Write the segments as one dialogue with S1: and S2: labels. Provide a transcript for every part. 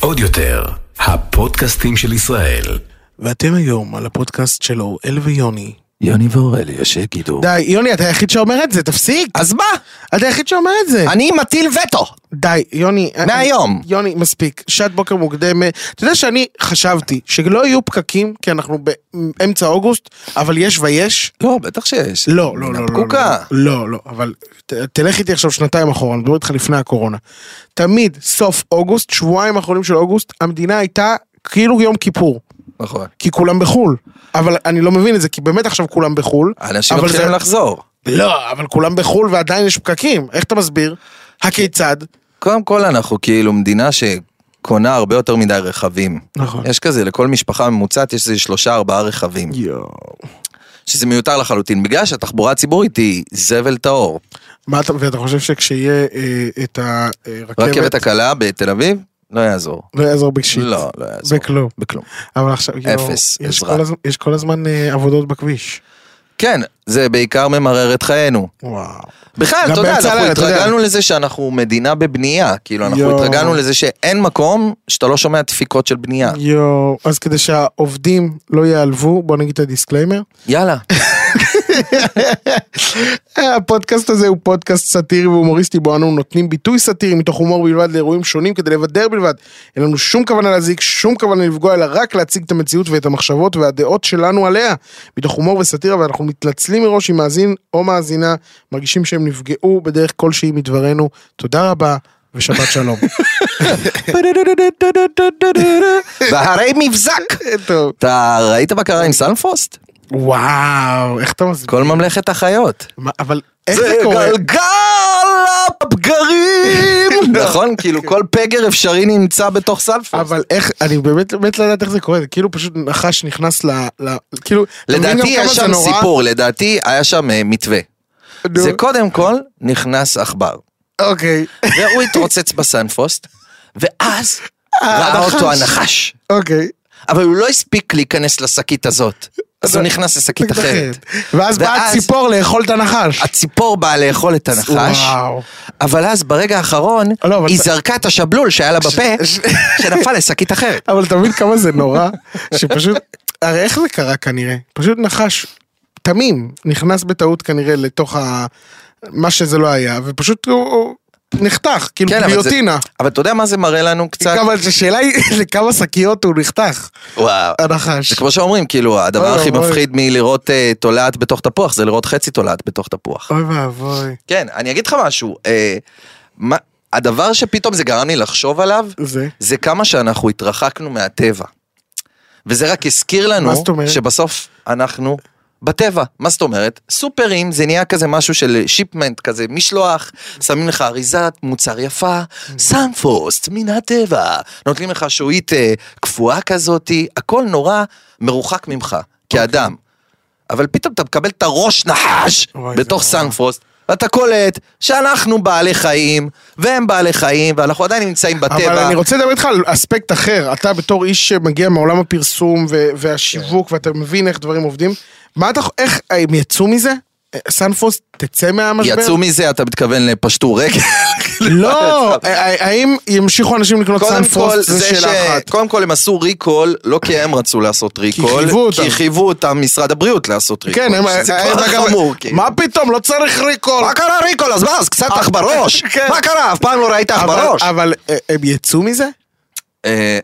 S1: עוד יותר, הפודקאסטים של ישראל.
S2: ואתם היום על הפודקאסט של אוראל ויוני.
S3: יוני ואורלי, שיגידו.
S2: די, יוני, אתה היחיד שאומר את זה, תפסיק.
S3: אז מה?
S2: אתה היחיד שאומר את זה.
S3: אני מטיל וטו.
S2: די, יוני. אני-
S3: מהיום.
S2: יוני, מספיק. שעת בוקר מוקדמת. אתה יודע שאני חשבתי שלא יהיו פקקים, כי אנחנו באמצע אוגוסט, אבל יש ויש.
S3: לא, בטח שיש.
S2: לא, לא, לא, לא.
S3: נפקוקה.
S2: לא, לא, לא, אבל ת- תלך איתי עכשיו שנתיים אחורה, אני מדבר איתך לפני הקורונה. תמיד, סוף אוגוסט, שבועיים האחרונים של אוגוסט, המדינה הייתה כאילו יום כיפור.
S3: נכון.
S2: כי כולם בחו"ל. אבל אני לא מבין את זה, כי באמת עכשיו כולם בחו"ל.
S3: אנשים
S2: אבל
S3: מתחילים
S2: זה-
S3: לחזור.
S2: לא, אבל כולם בחו"ל ועדיין יש פקקים. איך אתה מסביר? הכיצד?
S3: קודם כל אנחנו כאילו מדינה שקונה הרבה יותר מדי רכבים.
S2: נכון.
S3: יש כזה, לכל משפחה ממוצעת יש איזה שלושה ארבעה רכבים.
S2: יואו.
S3: שזה מיותר לחלוטין, בגלל שהתחבורה הציבורית היא זבל טהור.
S2: מה אתה, ואתה חושב שכשיהיה אה, את הרכבת...
S3: רכבת הקלה בתל אביב, לא יעזור.
S2: לא יעזור בשיט.
S3: לא, לא יעזור.
S2: בכלום.
S3: בכלום.
S2: אבל עכשיו, יואו,
S3: אפס
S2: יש
S3: עזרה.
S2: כל הזמן- יש כל הזמן אה, עבודות בכביש.
S3: כן, זה בעיקר ממרר את חיינו.
S2: וואו.
S3: בכלל,
S2: גם
S3: אתה יודע,
S2: באמצע
S3: אנחנו
S2: הלילה, אתה יודע.
S3: התרגלנו לזה שאנחנו מדינה בבנייה, כאילו, אנחנו
S2: יואו.
S3: התרגלנו לזה שאין מקום שאתה לא שומע דפיקות של בנייה.
S2: יואו, אז כדי שהעובדים לא ייעלבו, בוא נגיד את הדיסקליימר.
S3: יאללה.
S2: אה, הפודקאסט הזה הוא פודקאסט סאטירי והומוריסטי בו אנו נותנים ביטוי סאטירי מתוך הומור בלבד לאירועים שונים כדי לבדר בלבד. אין לנו שום כוונה להזיק, שום כוונה לפגוע, אלא רק להציג את המציאות ואת המחשבות והדעות שלנו עליה. מתוך הומור וסאטירה ואנחנו מתנצלים מראש אם מאזין או מאזינה מרגישים שהם נפגעו בדרך כלשהי מדברנו. תודה רבה ושבת שלום.
S3: והרי מבזק.
S2: טוב.
S3: אתה ראית מה קרה עם סנפרוסט?
S2: וואו, איך אתה מסביר?
S3: כל ממלכת החיות.
S2: מה- אבל איך זה קורה?
S3: גלגל הפגרים! נכון, כאילו כל פגר אפשרי נמצא בתוך סנפרוסט.
S2: לא. אבל איך, אני באמת באמת לא יודעת איך זה קורה, זה כאילו פשוט נחש נכנס ל... ל- כאילו, אתה מבין
S3: לדעתי
S2: גם
S3: היה
S2: כמה זה
S3: שם
S2: נורא?
S3: סיפור, לדעתי היה שם אה, מתווה.
S2: נו,
S3: זה קודם כל נכנס עכבר.
S2: אוקיי,
S3: והוא התרוצץ בסנפרוסט, ואז ראה
S2: הנחש.
S3: אותו הנחש.
S2: אוקיי.
S3: אבל הוא לא הספיק להיכנס לשקית הזאת, אז הוא נכנס לשקית אחרת.
S2: ואז באה
S3: ואז-
S2: ציפור לאכול את הנחש.
S3: הציפור באה לאכול את הנחש,
S2: וואו.
S3: אבל אז ברגע האחרון,
S2: לא, אבל
S3: היא
S2: אתה-
S3: זרקה את השבלול שהיה לה בפה,
S2: ש-
S3: שנפל לשקית אחרת.
S2: אבל אתה מבין כמה זה נורא? שפשוט, הרי איך זה קרה כנראה? פשוט נחש תמים נכנס בטעות כנראה לתוך ה... מה שזה לא היה, ופשוט הוא- הוא נחתך, כאילו
S3: כן, אבל זה-
S2: גיליוטינה.
S3: אבל אתה יודע מה זה מראה לנו קצת?
S2: אבל השאלה היא לכמה שקיות הוא נחתך,
S3: וואו.
S2: הנחש.
S3: זה כמו שאומרים, כאילו, הדבר
S2: אוי,
S3: הכי
S2: אוי.
S3: מפחיד מלראות אה, תולעת בתוך תפוח, זה לראות חצי תולעת בתוך תפוח.
S2: אוי ואבוי.
S3: כן, אני אגיד לך משהו. אה, מה- הדבר שפתאום זה גרם לי לחשוב עליו,
S2: זה.
S3: זה כמה שאנחנו התרחקנו מהטבע. וזה רק הזכיר
S2: מה
S3: לנו
S2: זאת אומרת?
S3: שבסוף אנחנו בטבע. מה זאת אומרת? סופרים זה נהיה כזה משהו של שיפמנט כזה, משלוח, שמים לך אריזת מוצר יפה, סנפוסט מן הטבע, נותנים לך שעועית אה, קפואה כזאתי, הכל נורא מרוחק ממך,
S2: אוקיי.
S3: כאדם. אבל פתאום אתה מקבל את הראש נחש
S2: וואי, זה
S3: בתוך
S2: נורא.
S3: סנפרוסט, ואתה קולט שאנחנו בעלי חיים, והם בעלי חיים, ואנחנו עדיין נמצאים
S2: אבל
S3: בטבע.
S2: אני רוצה לדבר איתך על אספקט אחר. אתה בתור איש שמגיע מעולם הפרסום ו-
S3: כן.
S2: והשיווק, ואתה מבין איך דברים עובדים, מה אתה, ח- איך, הם יצאו מזה? אה, סנפוס תצא מהמשבר?
S3: יצאו מזה, אתה מתכוון לפשטו רגל.
S2: לא, אה, אה, האם ימשיכו אנשים לקנות
S3: קודם כל,
S2: סנפוס? זו
S3: זה ש...
S2: שאלה אחת.
S3: קודם כל הם עשו ריקול, לא כי הם רצו לעשות ריקול,
S2: חייבו אותם.
S3: כי חייבו אותם משרד הבריאות לעשות ריקול.
S2: כן, הם...
S3: שזה
S2: אה,
S3: כבר
S2: אגב,
S3: חמור, כאילו.
S2: מה פתאום, לא צריך ריקול.
S3: מה קרה ריקול? אז מה, אז קצת אח בראש?
S2: כן.
S3: מה קרה? אף פעם לא ראית אח
S2: אבל-
S3: בראש?
S2: אבל אה, הם יצאו מזה?
S3: אה,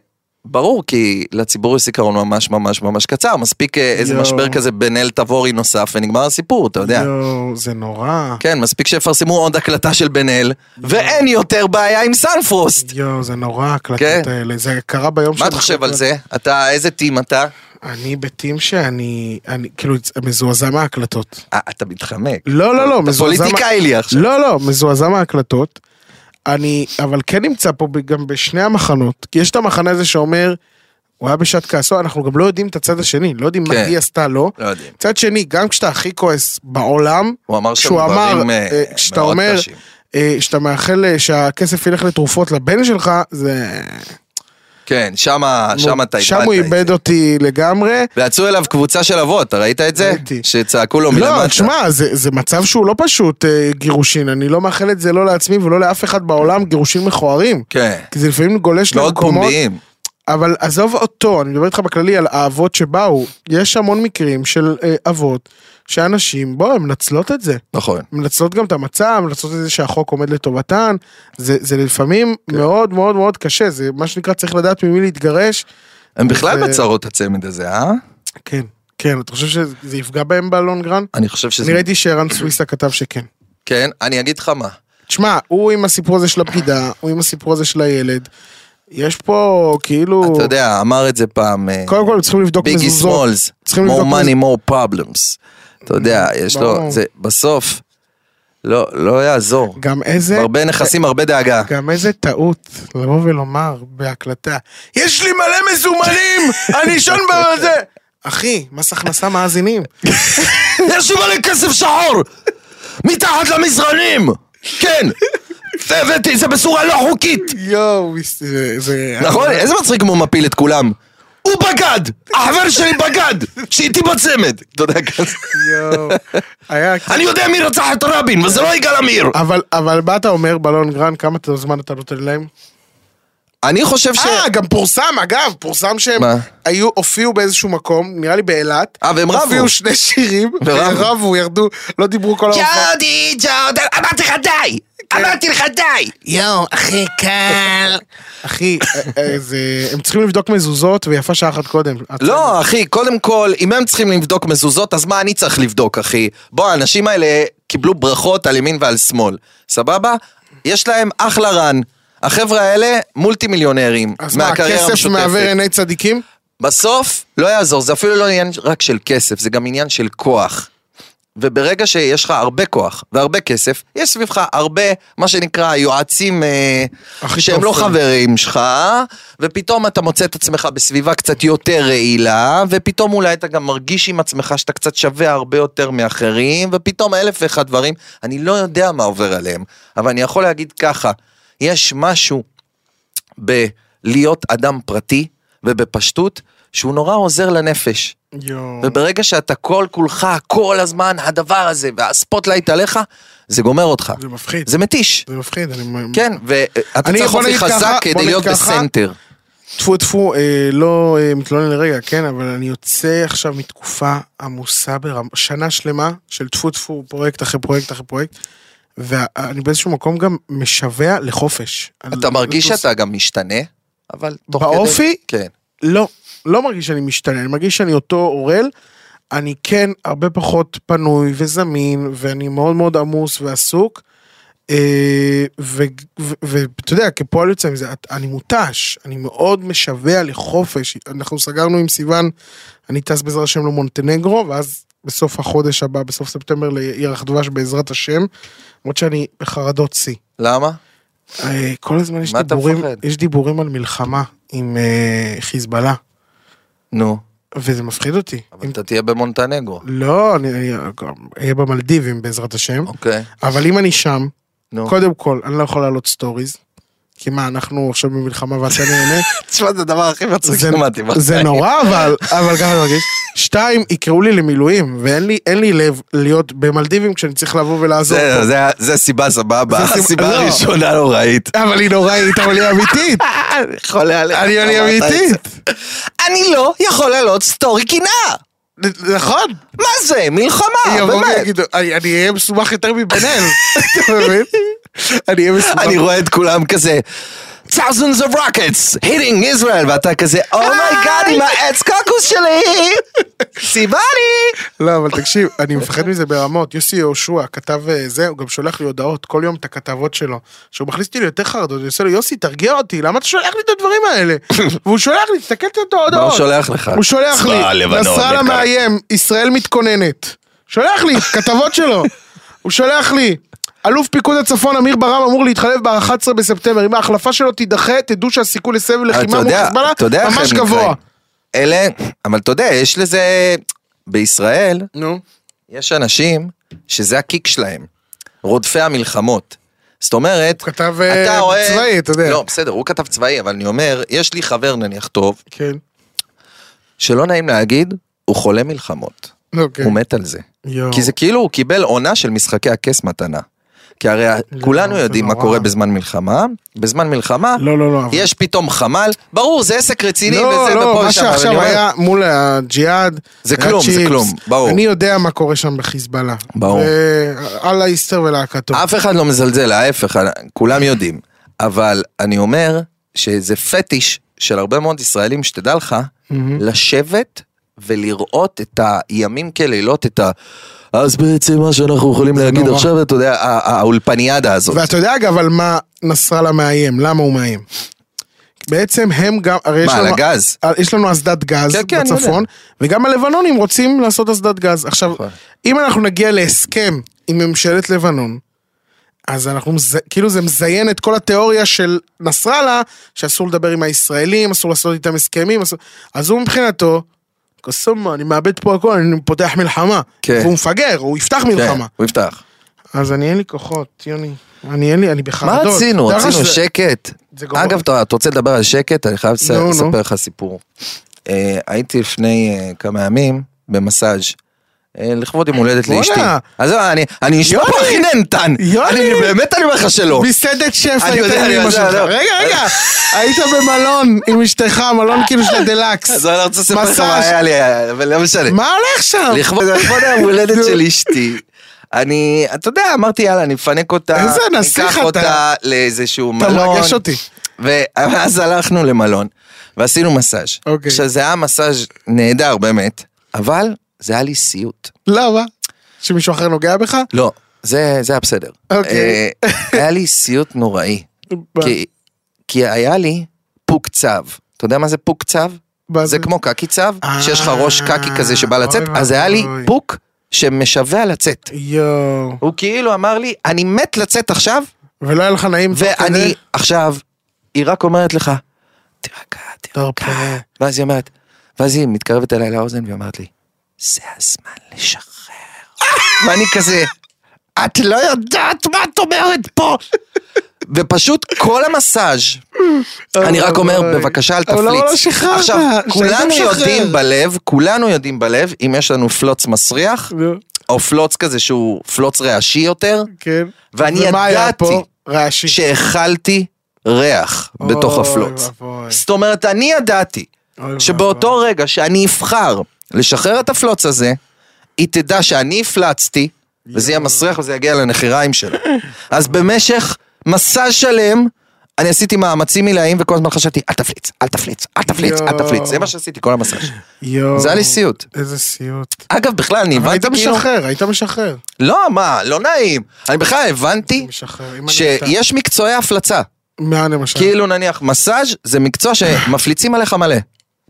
S3: ברור, כי לציבור יש זיכרון ממש ממש ממש קצר, מספיק אה, איזה
S2: יואו.
S3: משבר כזה בנאל תבורי נוסף ונגמר הסיפור, אתה יודע.
S2: יואו, זה נורא.
S3: כן, מספיק שיפרסמו עוד הקלטה של בן אל, ואין יותר בעיה עם סנפרוסט.
S2: יואו, זה נורא ההקלטות
S3: כן.
S2: האלה. זה קרה ביום
S3: מה
S2: שהם
S3: אתה חושב
S2: החליטו
S3: על זה? אתה, איזה טים אתה?
S2: אני בטים שאני, אני כאילו מזועזע מההקלטות.
S3: אה, אתה מתחמק.
S2: לא, לא, לא,
S3: אתה
S2: מזועזע. מה-
S3: פוליטיקאי לי עכשיו.
S2: לא, לא, מזועזע מההקלטות. אני, אבל כן נמצא פה ב- גם בשני המחנות, כי יש את המחנה הזה שאומר, הוא היה בשעת כעסו, אנחנו גם לא יודעים את הצד השני, לא יודעים מה
S3: כן.
S2: היא עשתה לו.
S3: לא יודעים.
S2: מצד שני, גם כשאתה הכי כועס בעולם,
S3: הוא אמר שם
S2: כשהוא אמר,
S3: דברים אה,
S2: אה, כשאתה
S3: מאוד
S2: אומר,
S3: קשים.
S2: אה, שאתה מאחל אה, שהכסף ילך לתרופות לבן שלך, זה...
S3: כן, שמה, שמה אתה
S2: שם הוא
S3: איבדת את זה.
S2: איבד אותי לגמרי.
S3: ויצאו אליו קבוצה של אבות, אתה ראית את זה?
S2: ראיתי.
S3: שצעקו לו מלמטה.
S2: לא, תשמע, זה, זה מצב שהוא לא פשוט אה, גירושין, אני לא מאחל את זה לא לעצמי ולא לאף אחד בעולם, גירושין מכוערים.
S3: כן.
S2: כי זה לפעמים גולש
S3: מאוד
S2: למקומות,
S3: פומביים.
S2: אבל עזוב אותו, אני מדבר איתך בכללי על האבות שבאו, יש המון מקרים של אה, אבות, שאנשים, בוא, הן מנצלות את זה.
S3: נכון.
S2: מנצלות גם את המצב, מנצלות את זה שהחוק עומד לטובתן, זה, זה לפעמים מאוד מאוד מאוד קשה, זה מה שנקרא צריך לדעת ממי להתגרש.
S3: הם בכלל
S2: זה-
S3: בצרות הצמד הזה, אה?
S2: כן, כן, אתה חושב שזה יפגע בהם בלונגרן?
S3: אני חושב שזה...
S2: אני ראיתי שערן סוויסה כתב שכן.
S3: כן, אני אגיד לך מה.
S2: תשמע, הוא עם הסיפור הזה של הבגידה, הוא עם הסיפור הזה של הילד. יש פה כאילו...
S3: אתה יודע, אמר את זה פעם... אה,
S2: קודם כל הם צריכים לבדוק
S3: ביגי
S2: מזוזות.
S3: סמולס,
S2: צריכים לבדוק
S3: more
S2: מז-
S3: money, more problems. אתה יודע, יש
S2: ברור.
S3: לו, זה בסוף, לא, לא יעזור.
S2: גם איזה...
S3: הרבה נכסים, הרבה דאגה.
S2: גם איזה טעות לבוא ולומר בהקלטה, יש לי מלא מזומנים, אני אשן בזה. אחי, מס הכנסה מאזינים.
S3: יש לי מלא כסף שחור! מתחת למזרנים! כן! הבאתי, זה בצורה לא חוקית!
S2: יואו, זה- זה...
S3: נכון? איזה מצחיק כמו מפיל את כולם. הוא בגד! החבר שלי בגד! שאיתי בצמד! אתה יודע, כזה.
S2: יואו. היה...
S3: אני יודע מי רצח את רבין, וזה לא יגאל עמיר!
S2: אבל, אבל מה אתה אומר בלון גרן, כמה אתה- זמן אתה נותן להם?
S3: אני חושב ש...
S2: אה, גם פורסם, אגב, פורסם שהם
S3: מה?
S2: היו, הופיעו באיזשהו מקום, נראה לי באילת.
S3: אה, והם רבו.
S2: הופיעו שני שירים,
S3: ורבו.
S2: רבו, ירדו, לא דיברו כל ההופעה.
S3: אה, ג'ודי, ג'ודי, אמרתי לך די! אמרתי לך די!
S2: יואו, אחי קל. אחי, אה, אה, זה- הם צריכים לבדוק מזוזות, ויפה שעה אחת קודם.
S3: לא, אחי, קודם כל, אם הם צריכים לבדוק מזוזות, אז מה אני צריך לבדוק, אחי? בוא, האנשים האלה קיבלו ברכות על ימין ועל שמאל, סבבה? יש להם אחלה רן. החבר'ה האלה מולטי מיליונרים
S2: אז מה,
S3: מהקריירה
S2: הכסף מעוור
S3: המשותפת.
S2: עיני צדיקים?
S3: בסוף, לא יעזור, זה אפילו לא עניין רק של כסף, זה גם עניין של כוח. וברגע שיש לך הרבה כוח והרבה כסף, יש סביבך הרבה, מה שנקרא, יועצים אה,
S2: הכי
S3: שהם לא
S2: טוב, כן.
S3: חברים שלך, ופתאום אתה מוצא את עצמך בסביבה קצת יותר רעילה, ופתאום אולי אתה גם מרגיש עם עצמך שאתה קצת שווה הרבה יותר מאחרים, ופתאום אלף ואחד דברים, אני לא יודע מה עובר עליהם, אבל אני יכול להגיד ככה, יש משהו בלהיות אדם פרטי ובפשטות, שהוא נורא עוזר לנפש.
S2: Mm. יואו.
S3: וברגע שאתה כל כולך, כל הזמן, הדבר הזה, והספוטלייט עליך, זה גומר אותך.
S2: זה מפחיד.
S3: זה מתיש.
S2: זה מפחיד, אני...
S3: כן, ואתה
S2: אני-
S3: צריך
S2: בוא
S3: אופי
S2: נגיד ככה,
S3: חזק
S2: בוא
S3: כדי
S2: נגיד
S3: להיות
S2: ככה.
S3: בסנטר.
S2: טפו טפו, אה, לא אה, מתלונן לרגע, כן, אבל אני יוצא עכשיו מתקופה עמוסה ברמה, שנה שלמה של טפו טפו, פרויקט אחרי פרויקט אחרי פרויקט, ואני באיזשהו מקום גם משווע לחופש.
S3: אתה
S2: אני- לא-
S3: מרגיש
S2: לטוס-
S3: שאתה גם משתנה, אבל תוך כדי...
S2: באופי?
S3: כן.
S2: לא, לא מרגיש שאני משתנה, אני מרגיש שאני אותו אורל. אני כן הרבה פחות פנוי וזמין, ואני מאוד מאוד עמוס ועסוק. אה, ו- ו- ואתה יודע, כפועל יוצא מזה, את- אני מותש, אני מאוד משווע לחופש. אנחנו סגרנו עם סיוון, אני טס בעזרת השם למונטנגרו, ואז בסוף החודש הבא, בסוף ספטמבר, לירח דבש בעזרת השם, למרות שאני בחרדות שיא.
S3: למה?
S2: אה, כל הזמן יש
S3: מה אתה
S2: דיבורים,
S3: מפחד?
S2: יש דיבורים על מלחמה עם אה, חיזבאללה.
S3: נו,
S2: וזה מפחיד אותי.
S3: אבל
S2: אם...
S3: אתה תהיה במונטנגרו.
S2: לא, אני אני גם אהיה במלדיבים בעזרת השם,
S3: אוקיי,
S2: אבל אם אני שם,
S3: נו.
S2: קודם כל, אני לא יכול לעלות סטוריז, כי מה, אנחנו עכשיו במלחמה ואתה נהנה?
S3: תשמע, זה הדבר הכי מצחיק
S2: זה-
S3: שמעתי.
S2: זה
S3: בחיים.
S2: נורא, אבל אבל ככה אני מרגיש. שתיים, יקראו לי למילואים, ואין לי- אין לי לב להיות במלדיבים כשאני צריך לבוא ולעזור.
S3: זה-
S2: פה.
S3: זה- זה סיבה סבבה,
S2: זה סיבה-
S3: הסיבה
S2: לא.
S3: הראשונה נוראית.
S2: אבל היא נוראית, אבל היא אמיתית.
S3: חולה עליך.
S2: אני אני
S3: אמרת את זה.
S2: אמיתית.
S3: אני לא יכול לעלות סטורי קינה!
S2: נכון.
S3: מה זה? מלחמה,
S2: יבואו
S3: אה, באמת.
S2: ויגידו, אני אני אהיה מסובך יותר מבן-אל. אתה מבין? אני אהיה מסובך.
S3: אני רואה את כולם כזה, thousands of rockets hitting Israel, ואתה כזה, אומייגאד עם העץ קוקוס שלי! סיבה לי!
S2: לא, אבל תקשיב, אני מפחד מזה ברמות. יוסי יהושע כתב אה, זה, הוא גם שולח לי הודעות כל יום את הכתבות שלו. שהוא מכניס אותי ליותר חרדות, אני עושה לו, יוסי, תרגיע אותי, למה אתה שולח לי את הדברים האלה? והוא שולח לי, תסתכל את
S3: מה הוא
S2: ההודעות.
S3: שולח לך?
S2: הוא שולח
S3: צבא
S2: לי,
S3: הלבנון
S2: נסראללה
S3: וקרה.
S2: מאיים, ישראל מתכוננת. שולח לי, כתבות שלו. הוא שולח לי, אלוף פיקוד הצפון אמיר ברם אמור להתחלב ב-11 בספטמבר. אם ההחלפה שלו תידחה, תדעו שהסיכוי לסבב
S3: אתה
S2: לחימה מול
S3: יודע,
S2: חיזבאללה
S3: אתה יודע איך
S2: ממש
S3: הם
S2: גבוה.
S3: נקראים. אלה, אבל אתה יודע, יש לזה, בישראל,
S2: נו.
S3: יש אנשים שזה הקיק שלהם, רודפי המלחמות. זאת אומרת,
S2: הוא כתב
S3: אתה
S2: אה,
S3: רואה...
S2: צבאי, אתה יודע.
S3: לא, בסדר, הוא כתב צבאי, אבל אני אומר, יש לי חבר נניח טוב,
S2: כן.
S3: שלא נעים להגיד, הוא חולה מלחמות.
S2: אוקיי.
S3: הוא מת על זה.
S2: יואו.
S3: כי זה כאילו הוא קיבל עונה של משחקי הכס מתנה. כי הרי כולנו
S2: לא, זה
S3: יודעים מה
S2: נורא.
S3: קורה בזמן מלחמה, בזמן מלחמה
S2: לא, לא, לא. אבל-
S3: יש פתאום חמ"ל, ברור זה עסק רציני
S2: לא,
S3: וזה
S2: לא,
S3: ופה
S2: מה
S3: ושם, אבל אני
S2: שעכשיו
S3: אומר,
S2: היה מול הג'יהאד,
S3: זה
S2: היה
S3: כלום, זה
S2: צ'יפס.
S3: כלום, ברור.
S2: אני יודע מה קורה שם בחיזבאללה. אה,
S3: ברור.
S2: ו- אללה איסטר ולהקתו.
S3: אף אחד לא מזלזל, ההפך, כולם יודעים. אבל אני אומר שזה פטיש של הרבה מאוד ישראלים, שתדע לך,
S2: מהמם.
S3: לשבת ולראות את הימים כלילות, את ה... אז בעצם מה שאנחנו יכולים להגיד
S2: נורא.
S3: עכשיו, אתה יודע, הא- האולפניאדה הזאת.
S2: ואתה יודע אגב על מה נסראללה מאיים, למה הוא מאיים. בעצם הם גם, הרי יש
S3: מה, על
S2: לנו...
S3: הגז?
S2: אה, יש לנו אסדת גז
S3: כן, כן, אני
S2: בצפון, וגם הלבנונים רוצים לעשות אסדת גז. עכשיו,
S3: נכון.
S2: אם אנחנו נגיע להסכם עם ממשלת לבנון, אז אנחנו, מז... כאילו זה מזיין את כל התיאוריה של נסראללה, שאסור לדבר עם הישראלים, אסור לעשות איתם הסכמים, אסור... אז הוא מבחינתו, קוסומה, אני מאבד פה הכל, אני פותח מלחמה.
S3: כן.
S2: והוא מפגר, הוא יפתח
S3: כן,
S2: מלחמה.
S3: הוא יפתח.
S2: אז אני אין לי כוחות, יוני. אני אין לי, אני
S3: מה
S2: בחרדות.
S3: רצינו?
S2: דרך אגב,
S3: רצינו
S2: שזה-
S3: שקט.
S2: זה גרוע.
S3: אגב, אתה אתה רוצה לדבר על שקט? אני חייב לס-
S2: נו, נו.
S3: לספר לך סיפור. אה, הייתי לפני אה, כמה ימים במסאז' אה, לכבוד יום הולדת
S2: בואנה.
S3: לאשתי. אז לא, אני- אני נשמע
S2: יוני.
S3: פרחיננטן.
S2: יוני.
S3: אני באמת אני אומר לך שלא.
S2: מסעדת שף
S3: אני
S2: הייתה
S3: יודע,
S2: עם
S3: אני
S2: אמא
S3: יודע,
S2: שלך.
S3: לא.
S2: רגע, רגע, היית במלון עם אשתך, מלון כאילו של הדלקס.
S3: אז אני רוצה לספר לך מה
S2: מסאז'.
S3: היה לי, אבל לא משנה.
S2: מה הולך שם?
S3: לכבוד לכבוד יום הולדת של אשתי. אני, אתה יודע, אמרתי יאללה, אני מפנק אותה,
S2: איזה נסיך
S3: ניקח
S2: אתה.
S3: אותה לאיזשהו
S2: אתה
S3: מלון.
S2: מרגש אותי.
S3: ואז הלכנו למלון, ועשינו מסאז'.
S2: אוקיי.
S3: עכשיו זה היה מסאז' נהדר באמת, אבל זה היה לי סיוט.
S2: למה? לא, שמישהו אחר נוגע בך?
S3: לא, זה, זה היה בסדר.
S2: אוקיי.
S3: אה, היה לי סיוט נוראי,
S2: ב-
S3: כי, כי היה לי פוק צב. אתה יודע מה זה פוק צב?
S2: ב-
S3: זה כמו קקי צב,
S2: אה,
S3: שיש לך ראש קקי כזה שבא
S2: אוי
S3: לצאת, אז היה לי
S2: ואבוי.
S3: פוק שמשווע לצאת.
S2: יואו.
S3: הוא כאילו אמר לי, אני מת לצאת עכשיו,
S2: ולא היה לך נעים תוך
S3: ואני
S2: כדי?
S3: עכשיו, היא רק אומרת לך, תירגע, תירגע.
S2: תרפה.
S3: ואז היא אומרת, ואז היא מתקרבת אליי לאוזן והיא אומרת לי, זה הזמן לשחרר. ואני כזה, את לא יודעת מה את אומרת פה. ופשוט כל המסאז' אני רק אומר,
S2: אוי.
S3: בבקשה אל
S2: אבל
S3: תפליץ.
S2: למה לא שחררת?
S3: עכשיו,
S2: שהיית
S3: כולנו
S2: משחרר.
S3: יודעים בלב, כולנו יודעים בלב, אם יש לנו פלוץ מסריח,
S2: נו,
S3: או פלוץ כזה שהוא פלוץ רעשי יותר,
S2: כן.
S3: ואני
S2: ומה היה
S3: ידעתי
S2: פה? רעשי.
S3: שהאכלתי ריח בתוך
S2: אוי
S3: הפלוץ.
S2: ואבוי.
S3: זאת אומרת, אני ידעתי
S2: אוי
S3: שבאותו רגע שאני אבחר לשחרר את הפלוץ הזה, היא תדע שאני הפלצתי, וזה יהיה מסריח וזה יגיע לנחיריים שלה. אז במשך מסע שלם, אני עשיתי מאמצים עילאיים וכל הזמן חשבתי, אל תפליץ, אל תפליץ, אל תפליץ, אל תפליץ. זה מה שעשיתי כל המסע שלי.
S2: יואו.
S3: זה היה לי סיוט.
S2: איזה סיוט.
S3: אגב, בכלל, אני
S2: אבל היית
S3: הבנתי כאילו...
S2: משחרר, היית משחרר.
S3: לא, מה, לא נעים. אני בכלל הבנתי
S2: משחרר. אם אני הייתה-
S3: שיש מקצועי הפלצה.
S2: מה למשל?
S3: כאילו נניח מסאז' זה מקצוע שמפליצים עליך מלא.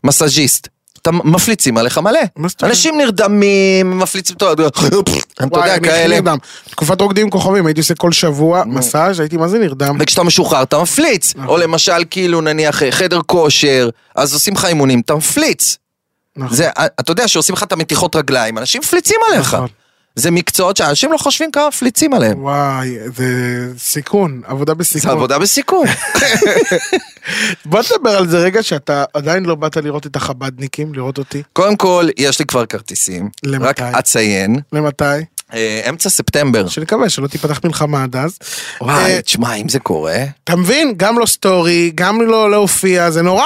S3: מסאז'יסט. אתה מפליצים עליך מלא.
S2: מה זאת אומרת?
S3: אנשים נרדמים, מפליצים, אתה יודע, הם, אתה
S2: כן. וואי,
S3: יודע,
S2: אני הכי
S3: כאלה.
S2: נרדם. תקופת רוקדים עם כוכבים, הייתי עושה כל שבוע מסאז', הייתי מה זה נרדם.
S3: וכשאתה משוחרר אתה מפליץ.
S2: נכון.
S3: או למשל כאילו נניח אה, חדר כושר, אז עושים לך אימונים, אתה מפליץ.
S2: נכון.
S3: זה, אה, אתה יודע שעושים לך את המתיחות רגליים, אנשים מפליצים עליך.
S2: נכון.
S3: זה מקצועות שאנשים לא חושבים כמה מפליצים עליהם.
S2: וואי, זה סיכון, עבודה
S3: זה
S2: בסיכון.
S3: עבודה בסיכון.
S2: בוא נדבר על זה רגע שאתה עדיין לא באת לראות את החבדניקים, לראות אותי.
S3: קודם כל, יש לי כבר כרטיסים.
S2: למתי?
S3: רק אציין,
S2: למתי?
S3: אה, אמצע ספטמבר.
S2: שנקווה שלא תיפתח מלחמה עד אז. אה,
S3: וואי, תשמע, אם זה קורה...
S2: אתה מבין? גם לא סטורי, גם לא להופיע, זה נורא.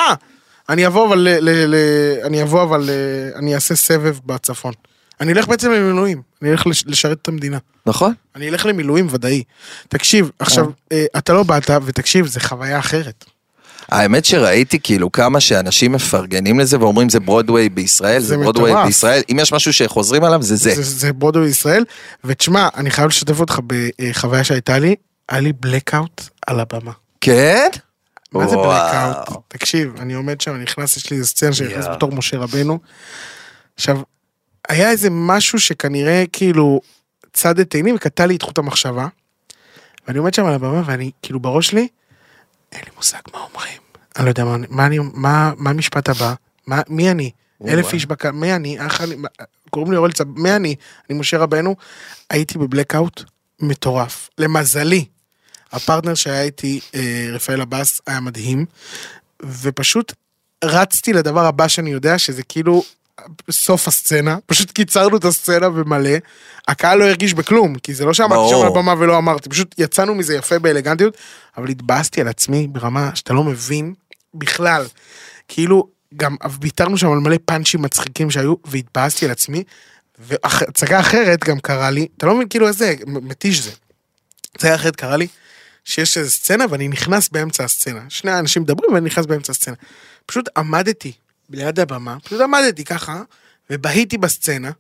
S2: אני אבוא אבל, ל- ל- ל- אני אבוא אבל, אה, אני אעשה סבב בצפון. אני אלך בעצם למילואים, אני אלך לש- לשרת את המדינה.
S3: נכון?
S2: אני אלך למילואים ודאי. תקשיב, עכשיו, אה, אתה לא באת, ותקשיב, זה חוויה אחרת.
S3: האמת שראיתי כאילו כמה שאנשים מפרגנים לזה ואומרים זה ברודוויי בישראל,
S2: זה
S3: זה ברודוויי
S2: מטורף.
S3: בישראל, אם יש משהו שחוזרים עליו זה זה.
S2: זה, זה ברודו בישראל, ותשמע, אני חייב לשתף אותך בחוויה שהייתה לי, היה לי blackout על הבמה.
S3: כן?
S2: מה זה
S3: וואו.
S2: blackout? תקשיב, אני עומד שם, אני נכנס, יש לי איזה סצנה שאני נכנס
S3: יואו.
S2: בתור משה רבנו. עכשיו, היה איזה משהו שכנראה כאילו צד את עיני וקטע לי את חוט המחשבה, ואני עומד שם על הבמה ואני, כאילו בראש שלי, אין לי מושג מה אומרים. אני לא יודע מה, מה, אני, מה, מה המשפט הבא, מה, מי אני?
S3: וואו.
S2: אלף איש בקהל, מי אני? אח אני, מה- קוראים לי אורל צב, מי אני? אני משה רבנו. הייתי בבלקאוט מטורף. למזלי, הפרטנר שהיה איתי, אה, רפאל עבאס, היה מדהים, ופשוט רצתי לדבר הבא שאני יודע, שזה כאילו סוף הסצנה, פשוט קיצרנו את הסצנה במלא, הקהל לא הרגיש בכלום, כי זה לא שאמרתי שם
S3: ברור.
S2: על הבמה ולא אמרתי, פשוט יצאנו מזה יפה באלגנטיות, אבל התבאסתי על עצמי ברמה שאתה לא מבין בכלל. כאילו, גם ויתרנו שם על מלא פאנצ'ים מצחיקים שהיו, והתבאסתי על עצמי, והצגה אחרת גם קרה לי, אתה לא מבין כאילו איזה מתיש זה. הצגה אחרת קרה לי, שיש איזה סצנה ואני נכנס באמצע הסצנה. שני האנשים מדברים ואני נכנס באמצע הסצנה. פשוט עמדתי ליד הבמה, פשוט עמדתי ככה, ובהיתי בסצנה,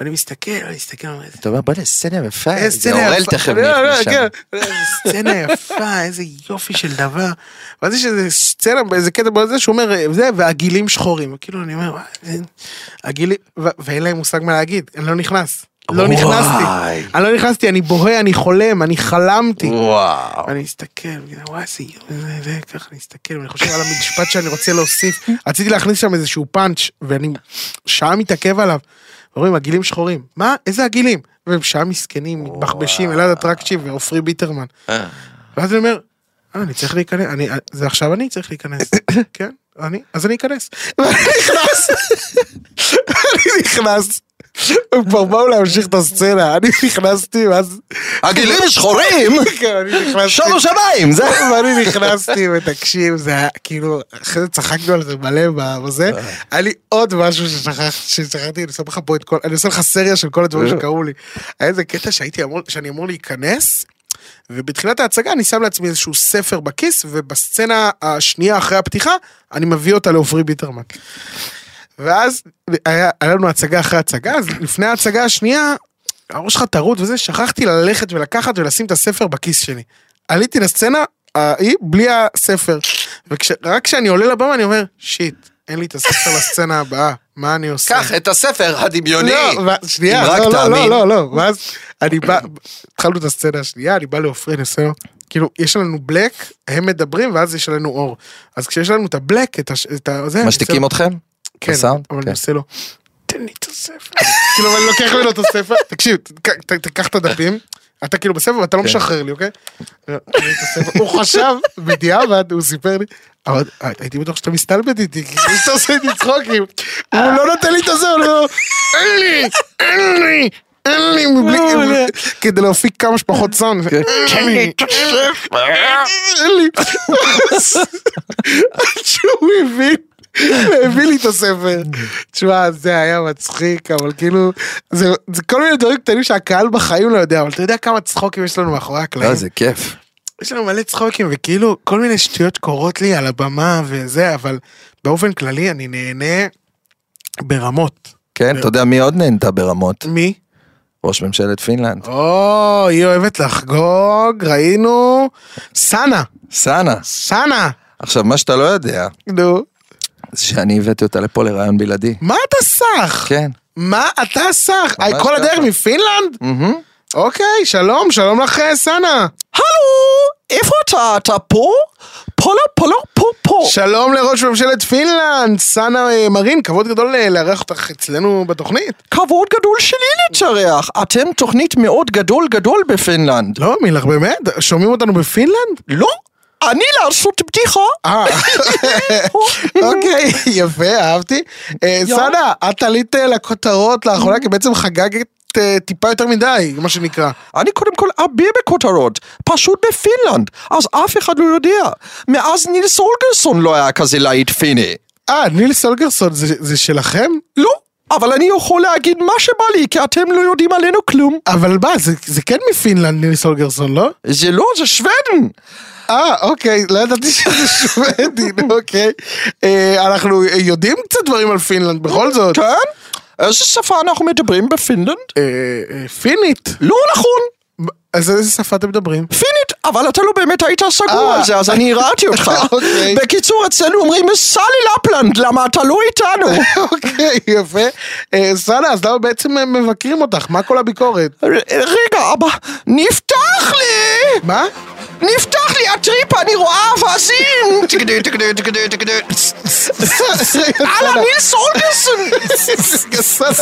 S2: ואני מסתכל, אני מסתכל, אני אומר, "איזה
S3: אתה אומר, בוא'נה, סצנה יפה,
S2: איזה
S3: זה
S2: סצנה
S3: אורל
S2: יפה."
S3: תכף
S2: לא, לא,
S3: משם.
S2: כן. איזה סצנה יפה, איזה יופי של דבר. ואז יש איזה סצנה באיזה קטע בזה שהוא אומר, אה, זה, והגילים שחורים. כאילו, אני אומר, "מה, זה- הגילים, ו- ואין להם מושג מה להגיד, אני לא נכנס. לא
S3: וואי.
S2: נכנסתי. אני לא נכנסתי, אני בוהה, אני חולם, אני חלמתי.
S3: וואו.
S2: אני מסתכל, ואני אומר, וואי, איזה יופי, זה- זה, ככה אני מסתכל, ואני חושב על המשפט שאני רוצה להוסיף. רציתי להכניס שם איזשהו פאנץ', ואני שעה מתעכב עליו. אומרים, הגילים שחורים. מה? איזה הגילים? והם שעה מסכנים, מתבחבשים, אלעד אטרקצ'י ועופרי ביטרמן.
S3: אה.
S2: ואז אני אומר, אה, אני צריך להיכנס, אני, זה עכשיו אני צריך להיכנס. כן, אני, אז אני אכנס. ואני נכנס, אני נכנס. הם כבר באו להמשיך את הסצנה, אני נכנסתי, ואז...
S3: הגילים
S2: אה,
S3: שחורים,
S2: כן, אני נכנסתי.
S3: שומו שמיים,
S2: אה,
S3: זה...
S2: ואני נכנסתי ותקשיב זה היה כאילו אחרי זה צחקנו על זה מלא ב- בזה היה לי עוד משהו ששכח- ששכחתי אני שם לך פה את כל אני עושה לך סריה של כל הדברים שקרו לי. היה איזה קטע שהייתי אמור שאני אמור להיכנס. ובתחילת ההצגה אני שם לעצמי איזשהו ספר בכיס ובסצנה השנייה אחרי הפתיחה אני מביא אותה לעופרי ביטרמן. ואז היה, היה לנו הצגה אחרי הצגה, אז לפני ההצגה השנייה, הראש שלך טרוד וזה, שכחתי ללכת ולקחת ולשים את הספר בכיס שלי. עליתי לסצנה ההיא בלי הספר, ורק כשאני עולה לבמה אני אומר, שיט, אין לי את הספר לסצנה הבאה, מה אני עושה?
S3: קח את הספר הדמיוני.
S2: לא, ו- שנייה,
S3: אם רק
S2: לא, לא,
S3: תאמין.
S2: לא, לא, לא, ואז אני בא, התחלנו את הסצנה השנייה, אני בא לעופרי, אני עושה לו, כאילו, יש לנו בלק, הם מדברים, ואז יש לנו אור. אז כשיש לנו את הבלק, את הש... את ה... אה, זה, אני עושה
S3: משתיקים
S2: לו-
S3: אתכם?
S2: כן,
S3: בסאונד?
S2: אבל אני
S3: כן.
S2: עושה לו, תן לי את הספר. כאילו, ואני לוקח ממנו את הספר, תקשיב, ת- ת- תקח את הדפים, אתה כאילו בספר ואתה
S3: כן.
S2: לא משחרר לי, אוקיי? תן לי את הספר. הוא חשב, בדיעבד, הוא סיפר לי, אבל הייתי בטוח שאתה מסתלבט איתי, כי זה שאתה עושה איתי צחוקים. הוא לא נותן לי את הספר, הוא אומר, אין לי, אין לי. אין לי
S3: לא,
S2: מבלי, כדי להפיק כמה שפחות סאונד,
S3: כן.
S2: אין לי, אין לי. עד שהוא הבין, הביא לי את הספר. תשמע, זה היה מצחיק, אבל כאילו, זה זה כל מיני דברים קטנים שהקהל בחיים לא יודע, אבל אתה יודע כמה צחוקים יש לנו מאחורי הקלעים.
S3: לא, זה כיף.
S2: יש לנו מלא צחוקים, וכאילו, כל מיני שטויות קורות לי על הבמה וזה, אבל באופן כללי אני נהנה ברמות.
S3: כן, אתה יודע מי עוד נהנתה ברמות?
S2: מי?
S3: ראש ממשלת פינלנד.
S2: אה. או, היא אוהבת לחגוג, ראינו, סאנה,
S3: סאנה.
S2: סאנה,
S3: עכשיו, מה שאתה לא יודע,
S2: נו.
S3: זה שאני הבאתי אותה לפה לרעיון בלעדי.
S2: מה אתה סח?
S3: כן.
S2: מה אתה סך?
S3: ממש
S2: כל הדרך
S3: ככה.
S2: מפינלנד?
S3: מהמם.
S2: אוקיי, שלום, שלום לך אה, סנה.
S3: הלו, איפה אתה? אתה פה? פה לא, פה לא, פה, פה.
S2: שלום לראש ממשלת פינלנד, סנה אה, מרין, כבוד גדול אה, לארח אותך אצלנו בתוכנית.
S3: כבוד גדול שלי להתארח. אתם תוכנית מאוד גדול גדול בפינלנד.
S2: לא מאמין לך, באמת? שומעים אותנו בפינלנד?
S3: לא, אני לעשות בדיחה.
S2: אה, אוקיי, יפה, אהבתי. אה,
S3: יואו.
S2: סנה, את עלית אה, לכותרות לאחרונה, כי בעצם חגגת אה, טיפה יותר מדי, מה שנקרא.
S3: אני קודם כל אביר בכותרות, פשוט בפינלנד, אז אף אחד לא יודע. מאז נילס הולגרסון לא היה כזה להיט פיני.
S2: אה, ניל סולגרסון זה זה שלכם?
S3: לא, אבל אני יכול להגיד מה שבא לי, כי אתם לא יודעים עלינו כלום.
S2: אבל מה, זה- זה כן מפינלנד, ניל סולגרסון, לא?
S3: זה לא, זה שוודן.
S2: אה, אוקיי, לא ידעתי שזה שוודין, אוקיי. אה, אנחנו יודעים קצת דברים על פינלנד, בכל זאת.
S3: כן? איזה שפה אנחנו מדברים בפינלנד?
S2: אה, אה, פינית.
S3: לא נכון.
S2: אז איזה שפה אתם מדברים?
S3: פינית, אבל אתה לא באמת היית סגור
S2: אה.
S3: על זה, אז אני הרעתי אותך.
S2: אוקיי.
S3: בקיצור, אצלנו אומרים סלי לפלנד, למה אתה לא איתנו?
S2: אוקיי, יפה. אה, סאנה, אז למה בעצם הם מבקרים אותך? מה כל הביקורת?
S3: ר- רגע, אבא, נפתח לי!
S2: מה?
S3: נפתח לי הטריפ, אני רואה אווזים! תקדו, תקדו, תקדו, תקדו.
S2: אהלן,
S3: נילס הולגרסון!
S2: סנה,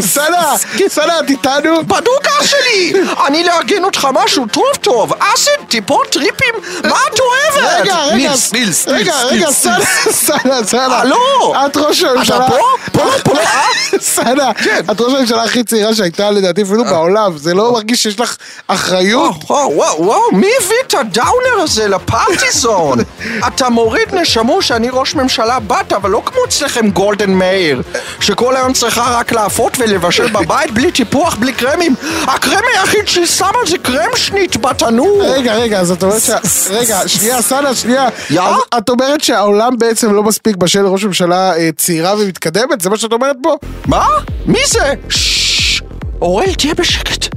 S2: סנה, סנה, את איתנו?
S3: בדוקה שלי! אני לארגן אותך משהו טוב טוב, אסד, טיפות, טריפים, מה את אוהבת?
S2: רגע, רגע,
S3: נילס, נילס,
S2: רגע,
S3: נילס,
S2: רגע,
S3: נילס,
S2: סנה, סנה, סנה.
S3: הלו?
S2: את ראש הממשלה.
S3: אתה פה? פה, פה, אה?
S2: סנה,
S3: כן. אה.
S2: את ראש הממשלה הכי צעירה שהייתה לדעתי אפילו בעולם, זה לא מרגיש שיש לך אחריות?
S3: וואו, וואו, וואו, מי הביא את הדאונר הזה לפרטיזון? אתה מוריד נשמו שאני ראש ממשלה בת, אבל לא כמו אצלכם גולדן מאיר, שכל היום צריכה רק להפות ולבשל בבית בלי טיפוח, בלי קרמים. הקרם היחיד שהיא שמה זה קרם שנית בתנור.
S2: רגע, רגע, אז את אומרת ש... רגע, שנייה, סנה, שנייה.
S3: אה. יא?
S2: אז את אומרת שהעולם בעצם לא מספיק בשל ראש ממשלה אה, צעירה ומתקדמת? זה מה שאת אומרת פה?
S3: מה? מי זה? ששש, אורל, תהיה בשקט.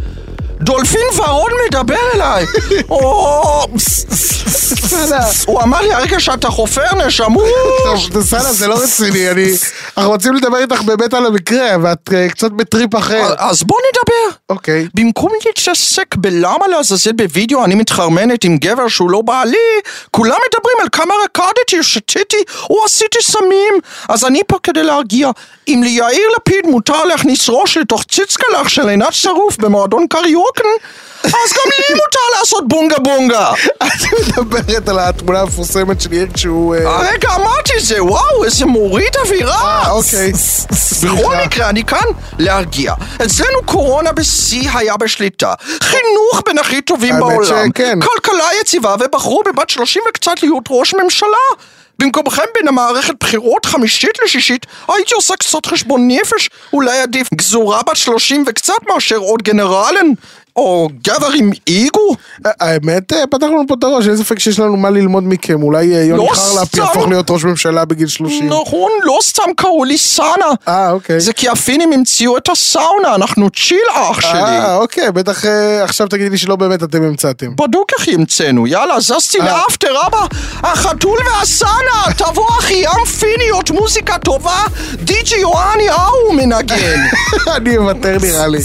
S3: דולפין ורון מדבר אליי! או,
S2: סנה.
S3: הוא אמר לי הרגע שאתה חופר נשמות! אה.
S2: טוב, סנה, זה לא רציני, אני... אנחנו רוצים לדבר איתך באמת על המקרה, ואת אה, קצת בטריפ אחר.
S3: אז בוא נדבר.
S2: אוקיי.
S3: במקום להתעסק בלמה לעזאזל בווידאו אני מתחרמנת עם גבר שהוא לא בעלי, כולם מדברים על כמה רקדתי, שתיתי או עשיתי סמים. אז אני פה כדי להרגיע. אם ליאיר לפיד מותר להכניס ראש לתוך ציצקלח של עינת שרוף במועדון קריוקן, אז גם לי מותר לעשות בונגה בונגה.
S2: את מדברת על התמונה המפורסמת של יאיר כשהוא... אה,
S3: הרגע אמרתי זה, וואו, איזה מוריד אווירה.
S2: אה, אוקיי.
S3: בכל מקרה, אני כאן להרגיע. אצלנו קורונה בשיא היה בשליטה. חינוך בין הכי טובים
S2: האמת
S3: בעולם.
S2: שכן.
S3: כלכלה יציבה ובחרו בבת 30 וקצת להיות ראש ממשלה. במקומכם בין המערכת בחירות חמישית לשישית, הייתי עושה קצת חשבון נפש, אולי עדיף גזורה בת 30 וקצת מאשר עוד גנרלן, או גבר עם איגו.
S2: האמת, אה, פתחנו לנו פה את הראש, אין ספק שיש לנו מה ללמוד מכם. אולי אה, יוני
S3: לא
S2: חרלפ
S3: סתם.
S2: יהפוך להיות ראש ממשלה בגיל 30.
S3: נכון, לא סתם קראו לי סאנה.
S2: אה, אוקיי.
S3: זה כי הפינים המציאו את הסאונה, אנחנו צ'יל אח שלי.
S2: אה, אוקיי, בטח אה, עכשיו תגידי לי שלא באמת אתם המצאתם.
S3: בדוק אחי המצאנו, יאללה, זזתי
S2: אה.
S3: לאפטר, אבא, החתול והסאנה, תבוא אחי, ים פיניות, מוזיקה טובה, די.ג'י יואני ההוא מנגן.
S2: אני אוותר נראה לי.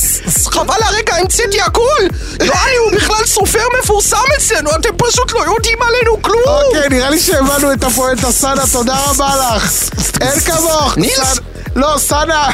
S3: חבל הרגע, המצאתי הכל! יואני הוא בכלל סופר מפורסם אצלנו, אתם פשוט לא יודעים עלינו כלום!
S2: אוקיי, נראה לי שהבנו את הפואנטה סאנה, תודה רבה לך. אין כמוך.
S3: נילס.
S2: סאנה- לא, סאנה.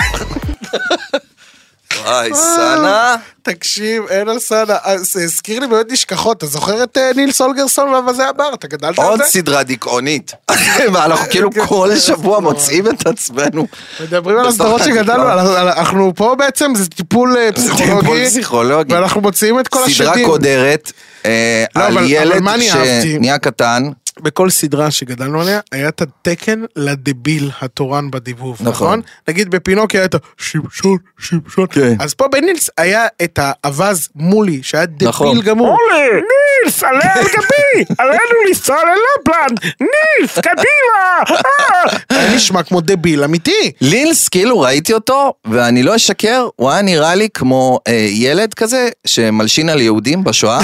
S3: היי, אה.
S2: תקשיב, אין על סאנה. אה, זה הזכיר לי באמת נשכחות. אתה זוכר את אה, נילס הולגרסון וזה הבר? אתה גדלת על
S3: עוד
S2: זה?
S3: סדרה דיכאונית. ואנחנו כאילו
S2: אוקיי.
S3: כל שבוע מוצאים את עצמנו.
S2: מדברים על
S3: בתוך
S2: הסדרות שגדלנו,
S3: הדיכאון.
S2: על- על- אנחנו פה בעצם, זה טיפול אה, פסיכולוגי.
S3: טיפול פסיכולוגי.
S2: ואנחנו מוציאים את כל השדים.
S3: סדרה קודרת אה,
S2: לא, אבל-
S3: על
S2: אבל
S3: ילד
S2: מה אני אהבתי?
S3: שנהיה קטן.
S2: בכל סדרה שגדלנו עליה, היה את התקן לדביל התורן בדיבוב, נכון?
S3: נכון.
S2: נגיד בפינוקי היה את השמשון, שמשון.
S3: כן.
S2: אז פה בנילס היה את האווז מולי, שהיה דביל
S3: נכון.
S2: גמור.
S4: נילס, עלה על גבי! עלינו לנסוע ללפלנד! נילס, קדימה! אה!
S2: היה נשמע כמו דביל אמיתי.
S3: לילס, כאילו ראיתי אותו, ואני לא אשקר, הוא היה נראה לי כמו אה, ילד כזה שמלשין על יהודים בשואה.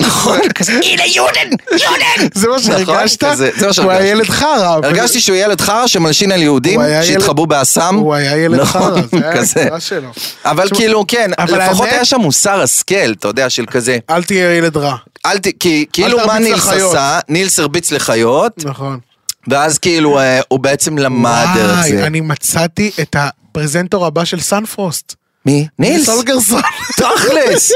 S3: נכון, כזה, הנה יודן, יודן!
S2: זה מה
S3: נכון,
S2: שהרגשת?
S3: כזה, זה מה
S2: הוא היה
S3: שהרגשתי.
S2: ילד חרא. אבל-
S3: הרגשתי שהוא ילד חרא שמלשין על יהודים
S2: הוא היה ילד-
S3: שהתחבאו באסם.
S2: הוא היה ילד
S3: נכון,
S2: חרא, זה היה
S3: כזה.
S2: ההגדרה שלו.
S3: אבל
S2: תשמע,
S3: כאילו, כן,
S2: אבל
S3: לפחות
S2: האמת-
S3: היה שם מוסר השכל, אתה יודע, של כזה.
S2: אל תהיה ילד רע.
S3: אל ת... כי כאילו
S2: תרביץ
S3: מה נילס
S2: לחיות.
S3: עשה, נילס הרביץ לחיות,
S2: נכון.
S3: ואז כאילו אה, הוא בעצם למד דרך
S2: וואי,
S3: זה.
S2: אני מצאתי את הפרזנטור הבא של סנפרוסט.
S3: מי? נילס.
S2: סולגרסון.
S3: תכלס.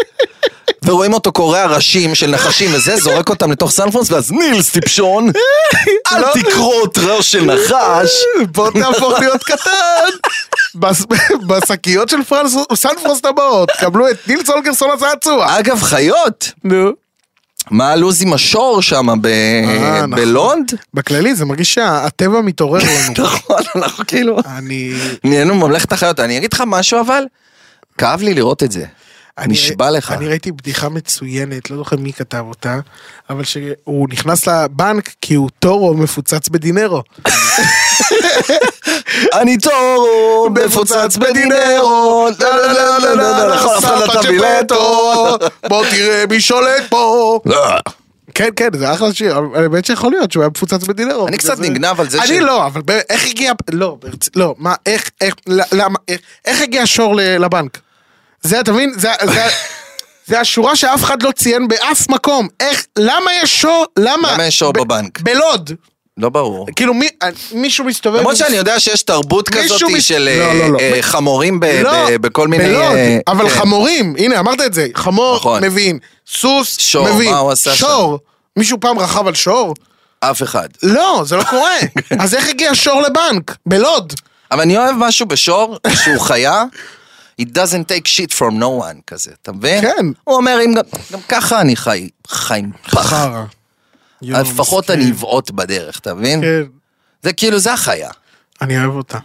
S3: ורואים אותו קורע ראשים של נחשים וזה, זורק אותם לתוך סנפרונס, ואז נילס טיפשון,
S2: לא.
S3: אל תקרוט ראש של נחש.
S2: בוא תהפוך להיות קטן. בס- בשקיות של פרנס סנפרוסט הבאות, קבלו את נילס הולגרסון הצעצוע.
S3: אגב, חיות,
S2: נו.
S3: מה הלו"ז עם השור שם ב-
S2: אה, נכון.
S3: בלונד?
S2: בכללי זה מרגיש שהטבע מתעורר לנו.
S3: נכון, אנחנו כאילו...
S2: אני...
S3: נהיינו ממלכת החיות. אני אגיד לך משהו אבל, כאב לי לראות את זה.
S2: אני-
S3: נשבע לך.
S2: אני ראיתי בדיחה מצוינת, לא זוכר מי כתב אותה, אבל שהוא נכנס לבנק כי הוא טורו מפוצץ בדינרו.
S3: אני טורו, מפוצץ בדינרו, לא לא לא לא לא לא, נכון, אף אחד לא תביא לטורו.
S2: בוא תראה מי שולט פה.
S3: לא.
S2: כן, כן, זה אחלה שיר, אבל האמת שיכול להיות שהוא היה מפוצץ בדילרו.
S3: אני קצת
S2: זה-
S3: נגנב על זה
S2: אני
S3: ש-
S2: לא, אבל ב- איך הגיע... לא, ברצ- לא, מה, איך, איך, ל- למה, איך- איך הגיע השור ל- לבנק? זה, אתה מבין? זה- זה- זה השורה שאף אחד לא ציין באף מקום. איך, למה יש שור, למה?
S3: למה יש שור
S2: ב-
S3: בבנק?
S2: בלוד.
S3: לא ברור.
S2: כאילו מי, מישהו מסתובב...
S3: למרות שאני יודע שיש תרבות
S2: מישהו
S3: כזאת
S2: מס-
S3: של
S2: לא,
S3: אה,
S2: לא, לא.
S3: אה, חמורים ב-
S2: לא,
S3: ב- בכל מיני...
S2: בלוד,
S3: אה,
S2: אבל
S3: כן.
S2: חמורים, הנה אמרת את זה, חמור
S3: נכון.
S2: מבין, סוס
S3: שור,
S2: מבין,
S3: מה הוא עשה שם?
S2: שור, מישהו פעם רכב על שור?
S3: אף אחד.
S2: לא, זה לא קורה.
S3: כן.
S2: אז איך הגיע שור לבנק? בלוד.
S3: אבל אני אוהב משהו בשור, שהוא חיה, it doesn't take shit from no one כזה, אתה מבין?
S2: כן.
S3: הוא אומר, אם גם, גם ככה אני חי, חי עם פח.
S2: חרא. יואו,
S3: אז לפחות
S2: מסכן.
S3: אני אבעוט בדרך, אתה מבין?
S2: כן,
S3: זה כאילו, זה החיה,
S2: אני אוהב אותה.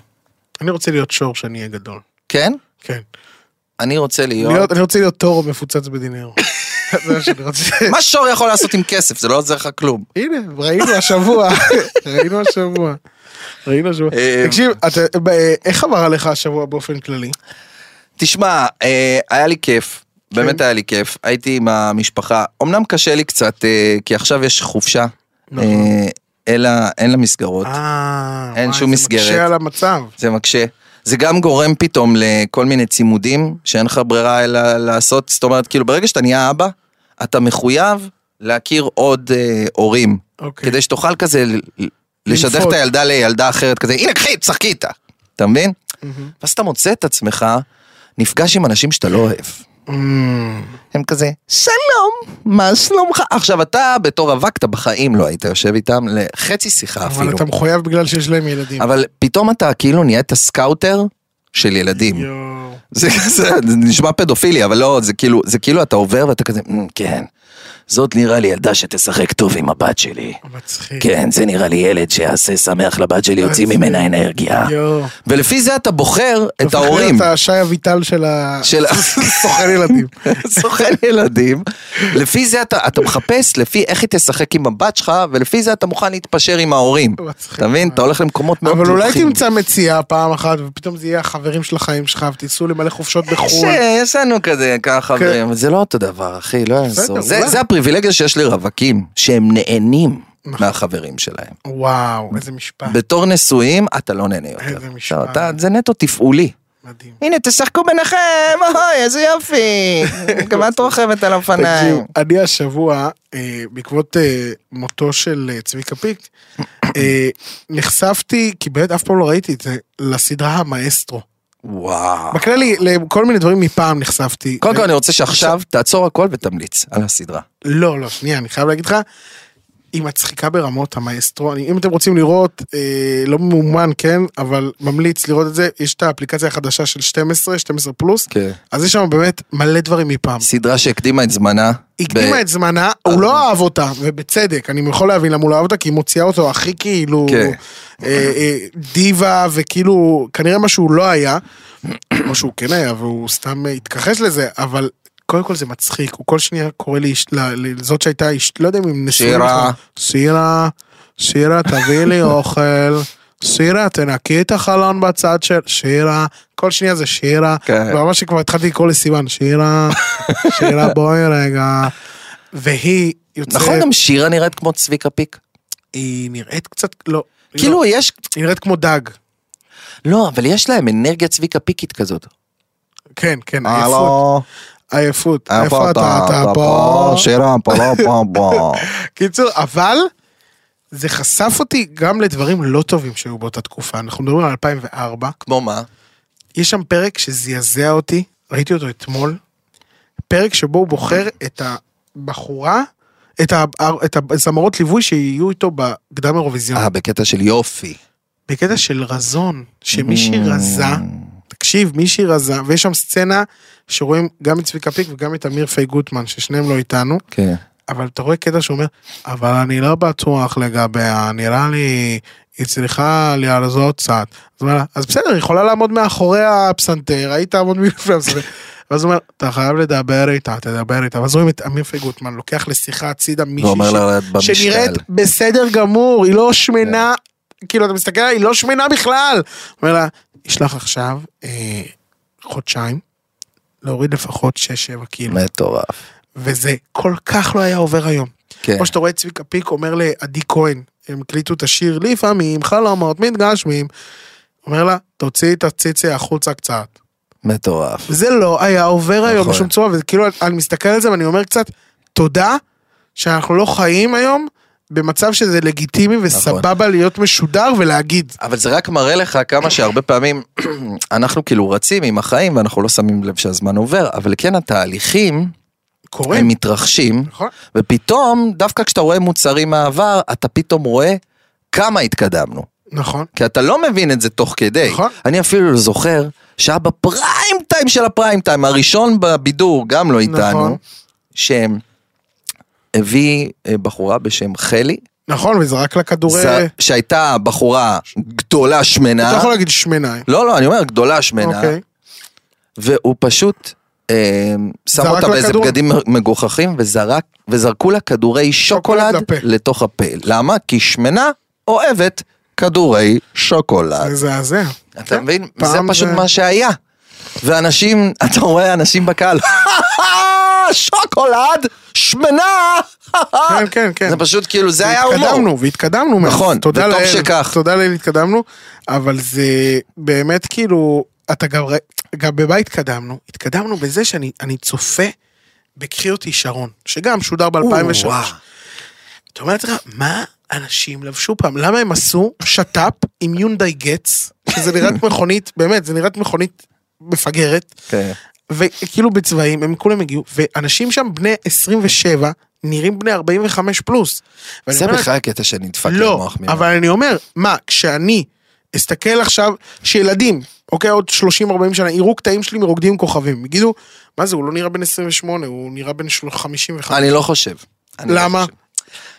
S2: אני רוצה להיות שור שאני אהיה גדול.
S3: כן?
S2: כן.
S3: אני רוצה להיות...
S2: להיות- אני רוצה להיות תור מפוצץ בדינר. זה מה שאני רוצה.
S3: מה שור יכול לעשות עם כסף? זה לא עוזר לך כלום.
S2: הנה, ראינו השבוע, ראינו השבוע. ראינו השבוע.
S3: אה,
S2: תקשיב, אתה- ב- אה, איך עבר עליך השבוע באופן כללי?
S3: תשמע, אה, היה לי כיף.
S2: כן.
S3: באמת היה לי כיף, הייתי עם המשפחה, אמנם קשה לי קצת, אה, כי עכשיו יש חופשה,
S2: נכון.
S3: אה, אין לה- אין לה מסגרות,
S2: אה,
S3: אין
S2: וואי,
S3: שום
S2: זה
S3: מסגרת.
S2: מקשה על המצב.
S3: זה מקשה. זה גם גורם פתאום לכל מיני צימודים שאין לך ברירה אלא לעשות, זאת אומרת, כאילו ברגע שאתה נהיה אבא, אתה מחויב להכיר עוד אה, הורים,
S2: אוקיי.
S3: כדי שתוכל כזה ל- לשדך
S2: לנפות.
S3: את הילדה לילדה אחרת, כזה, הנה קחי, תשחקי איתה, אתה מבין? ואז אתה מוצא את עצמך נפגש עם אנשים שאתה לא אוהב.
S2: אמ,
S3: הם כזה, שלום, מה שלומך? עכשיו אתה בתור אבק, אתה בחיים לא היית יושב איתם לחצי שיחה אפילו.
S2: אבל אתה מחויב בגלל שיש להם ילדים.
S3: אבל פתאום אתה כאילו נהיית סקאוטר של ילדים.
S2: יואו.
S3: זה, זה, זה נשמע פדופילי, אבל לא, זה כאילו, זה כאילו אתה עובר ואתה כזה, "מ, כן, זאת נראה לי ילדה שתשחק טוב עם הבת שלי.
S2: מצחיק.
S3: כן, זה נראה לי ילד שיעשה שמח לבת שלי, יוציא ממנה אנרגיה.
S2: אה, יואו.
S3: ולפי זה אתה בוחר את
S2: אתה
S3: ההורים.
S2: זוכר את השי אביטל של ה...
S3: של-
S2: סוכן ילדים.
S3: סוכן ילדים, לפי זה אתה, אתה מחפש, לפי איך היא תשחק עם הבת שלך, ולפי זה אתה מוכן להתפשר עם ההורים.
S2: מצחיק.
S3: אתה מבין? אתה הולך למקומות מאוד
S2: אבל אולי
S3: מלוכים.
S2: תמצא מציאה פעם אחת, ופתאום זה יהיה החברים של החיים שלך, ותיסעו למלא חופשות
S3: יש,
S2: בחו"ל.
S3: יש לנו כזה כמה חברים, אבל זה לא אותו דבר, אחי, לא יעזור.
S2: כן. בסדר,
S3: זה,
S2: אולי.
S3: זה הפריבילגיה שיש לרווקים, שהם נהנים
S2: נכון.
S3: מהחברים שלהם.
S2: וואו, איזה משפט.
S3: בתור נשואים, אתה לא נהנה יותר.
S2: אה. איזה משפט.
S3: לא, אתה, זה נטו תפעולי.
S2: מדהים.
S3: הנה, תשחקו ביניכם, אוי, איזה יופי. גם את רוכבת על
S2: תקשיב,
S3: אופניים.
S2: אני השבוע, אה, בעקבות אה, מותו של אה, צביקה פיק, אה, נחשפתי, כי באמת אף פעם לא ראיתי את זה, לסדרה המאסטרו.
S3: וואו.
S2: בכללי, לכל מיני דברים מפעם נחשפתי. אה,
S3: קודם כל אני רוצה שעכשיו תעצור הכל ותמליץ על הסדרה.
S2: לא, לא, שנייה, אני חייב להגיד לך, היא מצחיקה ברמות המאסטרו. אני, אם אתם רוצים לראות, אה, לא ממומן, כן, אבל ממליץ לראות את זה, יש את האפליקציה החדשה של 12, 12 פלוס,
S3: כן.
S2: אז יש שם באמת מלא דברים מפעם.
S3: סדרה שהקדימה את זמנה. ב- אה.
S2: הקדימה את זמנה, הוא לא אהב אותה, ובצדק, אני יכול להבין למה הוא לא אהב אותה, כי היא מוציאה אותו הכי כאילו
S3: כן.
S2: אה, אה, דיבה, וכאילו, כנראה מה שהוא לא היה, או שהוא כן היה, והוא סתם אה, התכחש לזה, אבל קודם כל זה מצחיק, הוא כל שנייה קורא לי, לזאת שהייתה, אשת- לא יודע אם הם נשואים,
S3: שירה.
S2: בכלל. שירה, שירה, תביאי לי אוכל. שירה, תנקי את החלון בצד של שירה, כל שנייה זה שירה,
S3: כן.
S2: וממש כבר התחלתי לקרוא לסיוון, שירה, שירה בואי רגע, והיא יוצאת,
S3: נכון, גם שירה נראית כמו צביקה פיק.
S2: היא נראית קצת, לא, היא
S3: כאילו
S2: לא,
S3: יש,
S2: היא נראית כמו דג,
S3: לא, אבל יש להם אנרגיה צביקה פיקית כזאת.
S2: כן, כן,
S3: אה, לא.
S2: עייפות, עייפות, איפה אתה, אתה פה,
S3: שירה, פה, לא, פה, פה.
S2: קיצור, אבל זה חשף אותי גם לדברים לא טובים שהיו באותה תקופה, אנחנו מדברים על 2004,
S3: כמו מה?
S2: יש שם פרק שזעזע אותי, ראיתי אותו אתמול, פרק שבו הוא בוחר את הבחורה, את ה- את הזמרות ליווי שיהיו איתו בקדם אירוויזיון.
S3: אה, בקטע של יופי. Mm,
S2: בקטע של רזון, שמישהי רזה, תקשיב, מישהי רזה, ויש שם סצנה שרואים גם את צביקה פיק וגם את אמיר פיי גוטמן, ששניהם לא איתנו,
S3: כן.
S2: אבל אתה רואה קטע שאומר, אבל אני לא בטוח לגביה, נראה לי, היא צריכה להרזות קצת. אז הוא אומר לה, אז בסדר, היא יכולה לעמוד מאחורי הפסנתר, היית תעמוד מלפני הפסנתר. ואז הוא אומר, אתה חייב לדבר איתה, תדבר איתה. ואז רואים את אמיר פי גוטמן לוקח לשיחה הצידה מישהי
S3: אומר
S2: ש-
S3: לה לרדת במשקל.
S2: שנראית בסדר גמור, היא לא שמנה,
S3: כן.
S2: כאילו אתה מסתכל עליה, היא לא שמנה בכלל. הוא אומר לה, יש לך עכשיו אה, חודשיים, להוריד לפחות 6-7 קילו.
S3: מטורף.
S2: וזה כל כך לא היה עובר היום.
S3: כן.
S2: כמו שאתה רואה את צביקה פיק אומר לעדי כהן, הם הקליטו את השיר לפעמים, חלומות מתגשמים. אומר לה, תוציאי את הציצי החוצה קצת.
S3: מטורף.
S2: וזה לא היה עובר היום
S3: נכון.
S2: בשום צורה, וכאילו אני מסתכל על זה ואני אומר קצת, תודה שאנחנו לא חיים היום במצב שזה לגיטימי
S3: נכון.
S2: וסבבה להיות משודר ולהגיד.
S3: אבל זה רק מראה לך כמה שהרבה פעמים אנחנו כאילו רצים עם החיים ואנחנו לא שמים לב שהזמן עובר, אבל כן התהליכים
S2: קורה.
S3: הם מתרחשים,
S2: נכון.
S3: ופתאום, דווקא כשאתה רואה מוצרים מהעבר, אתה פתאום רואה כמה התקדמנו.
S2: נכון.
S3: כי אתה לא מבין את זה תוך כדי.
S2: נכון.
S3: אני אפילו לא זוכר שהיה בפריים טיים של הפריים טיים, הראשון בבידור, גם לא
S2: נכון.
S3: איתנו, שהם הביא אה, בחורה בשם חלי,
S2: נכון, וזרק לה כדורי...
S3: ז- שהייתה בחורה גדולה
S2: אתה
S3: שמנה.
S2: יכול להגיד שמנה.
S3: לא, לא, אני אומר גדולה שמנה,
S2: אוקיי.
S3: והוא פשוט אה, שם
S2: זרק
S3: אותה
S2: לה
S3: באיזה
S2: כדור?
S3: בגדים מגוחכים וזרק, וזרקו לה כדורי שוקולד
S2: לפה.
S3: לתוך הפה. למה? כי שמנה אוהבת כדורי שוקולד.
S2: מזעזע.
S3: אתה מבין? זה
S2: פעם
S3: פשוט
S2: זה-
S3: מה שהיה. ואנשים, אתה רואה אנשים בקהל, שוקולד, שמנה,
S2: כן, כן, כן.
S3: אה, זה פשוט כאילו, זה היה הומור.
S2: התקדמנו, והתקדמנו. מאז.
S3: נכון,
S2: תודה
S3: וטוב
S2: לאל,
S3: שכך.
S2: תודה לאל, התקדמנו, אבל זה באמת כאילו, אתה גם, ר- גם במה התקדמנו? התקדמנו בזה שאני אני צופה בקחי אותי שרון, שגם שודר ב-2003.
S3: וואו.
S2: אתה אומר לעצמך, מה אנשים לבשו פעם? למה הם עשו שת"פ עם יונדאי גץ, שזה נראית מכונית, באמת, זה נראית מכונית מפגרת,
S3: כן.
S2: וכאילו בצבעים, הם כולם הגיעו, ואנשים שם בני 27, נראים בני 45 פלוס. ואני
S3: זה
S2: אומר,
S3: בכלל הקטע שנדפק
S2: לא,
S3: למוח ממנו.
S2: אבל אני אומר, מה, כשאני אסתכל עכשיו, שילדים, אוקיי, עוד 30-40 שנה, יראו קטעים שלי מרוקדים עם כוכבים, יגידו, מה זה, הוא לא נראה בן 28, הוא נראה בן של- 55.
S3: אני לא חושב. אני לא
S2: למה?
S3: חושב.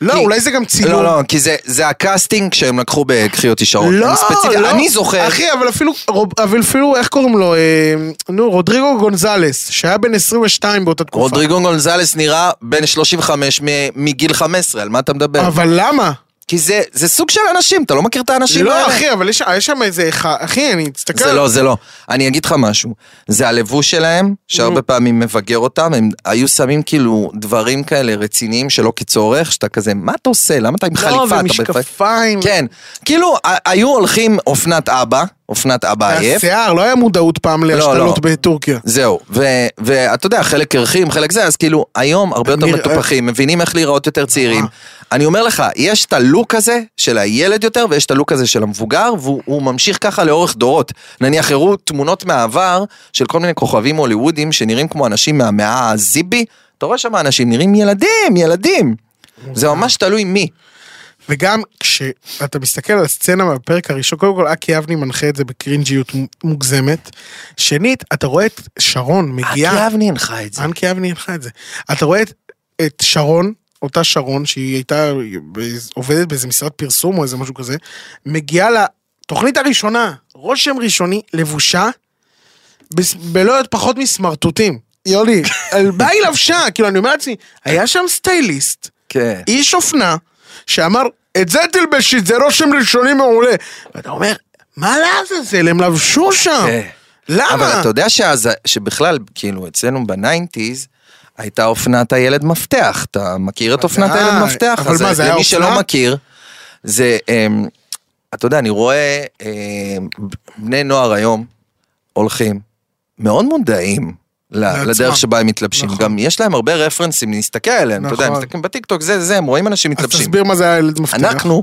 S2: לא,
S3: כי-
S2: אולי זה גם צילום.
S3: לא, לא, כי זה- זה הקאסטינג שהם לקחו בקחי אותי שרון.
S2: לא,
S3: הם ספציפית-
S2: לא.
S3: אני זוכר,
S2: אחי, אבל אפילו, רוב- אבל אפילו, איך קוראים לו, אה, נו, רודריגו גונזלס, שהיה בן 22 באותה תקופה.
S3: רודריגו גונזלס נראה בן 35 מ- מגיל 15, על מה אתה מדבר?
S2: אבל למה?
S3: כי זה זה סוג של אנשים, אתה לא מכיר את האנשים האלה.
S2: לא, אחי, כן. אבל יש יש שם איזה אחד, אחי, אני אסתכל.
S3: זה לא, זה לא. אני אגיד לך משהו. זה הלבוש שלהם,
S2: Mhm.
S3: שהרבה פעמים מבגר אותם, הם היו שמים כאילו דברים כאלה רציניים שלא כצורך, שאתה כזה, מה אתה עושה? למה אתה עם חליפה? אתה בפ-
S2: לא, ומשקפיים.
S3: כן. כאילו, ה- היו הולכים אופנת אבא, אופנת אבא עייף.
S2: השיער, לא היה מודעות פעם להשתלות
S3: לא.
S2: בטורקיה.
S3: זהו, ו- ואתה יודע, חלק קרחים, חלק זה, אז כאילו, היום הרבה יותר
S2: נראה-
S3: מטופחים, מבינים איך להיראות יותר צעירים. אני אומר לך, יש את הלוק הזה של הילד יותר, ויש את הלוק הזה של המבוגר, והוא הוא ממשיך ככה לאורך דורות. נניח, הראו תמונות מהעבר של כל מיני כוכבים הוליוודים שנראים כמו אנשים מהמאה הזיבי, אתה רואה שם אנשים נראים ילדים, ילדים. זה ממש תלוי מי.
S2: וגם כשאתה מסתכל על הסצנה מהפרק הראשון, קודם כל אקי אבני מנחה את זה בקרינג'יות מ- מוגזמת. שנית, אתה רואה את שרון מגיעה,
S3: אקי אבני הנחה את זה.
S2: אנקי אבני הנחה את זה. אתה רואה את, את שרון, אותה שרון, שהיא הייתה באיז- עובדת באיזה משרד פרסום או איזה משהו כזה, מגיעה לתוכנית הראשונה, רושם ראשוני, לבושה, בס- בלא להיות פחות מסמרטוטים. יוני, על מה היא לבשה? כאילו, אני אומר לעצמי, היה שם סטייליסט.
S3: כן.
S2: איש אופנה שאמר, את זה תלבשי, זה רושם ראשוני מעולה. ואתה אומר, מה לעזאזל, הם לבשו שם.
S3: כן.
S2: למה?
S3: אבל אתה יודע שאז, שבכלל, כאילו, אצלנו בניינטיז, הייתה אופנת הילד מפתח. אתה מכיר את אופנת
S2: ודאי.
S3: הילד מפתח?
S2: אבל
S3: אז אה,
S2: מה, זה היה
S3: למי שלא
S2: אופנה?
S3: מכיר, זה, אמ, אתה יודע, אני רואה אמ, בני נוער היום הולכים, מאוד מודעים. ל-
S2: לעצמם.
S3: לדרך שבה הם מתלבשים,
S2: נכון.
S3: גם יש להם הרבה רפרנסים להסתכל עליהם, אתה יודע, הם
S2: נכון.
S3: מסתכלים בטיקטוק, זה זה, הם רואים אנשים
S2: אז
S3: מתלבשים.
S2: תסביר מה זה הילד מפתח.
S3: אנחנו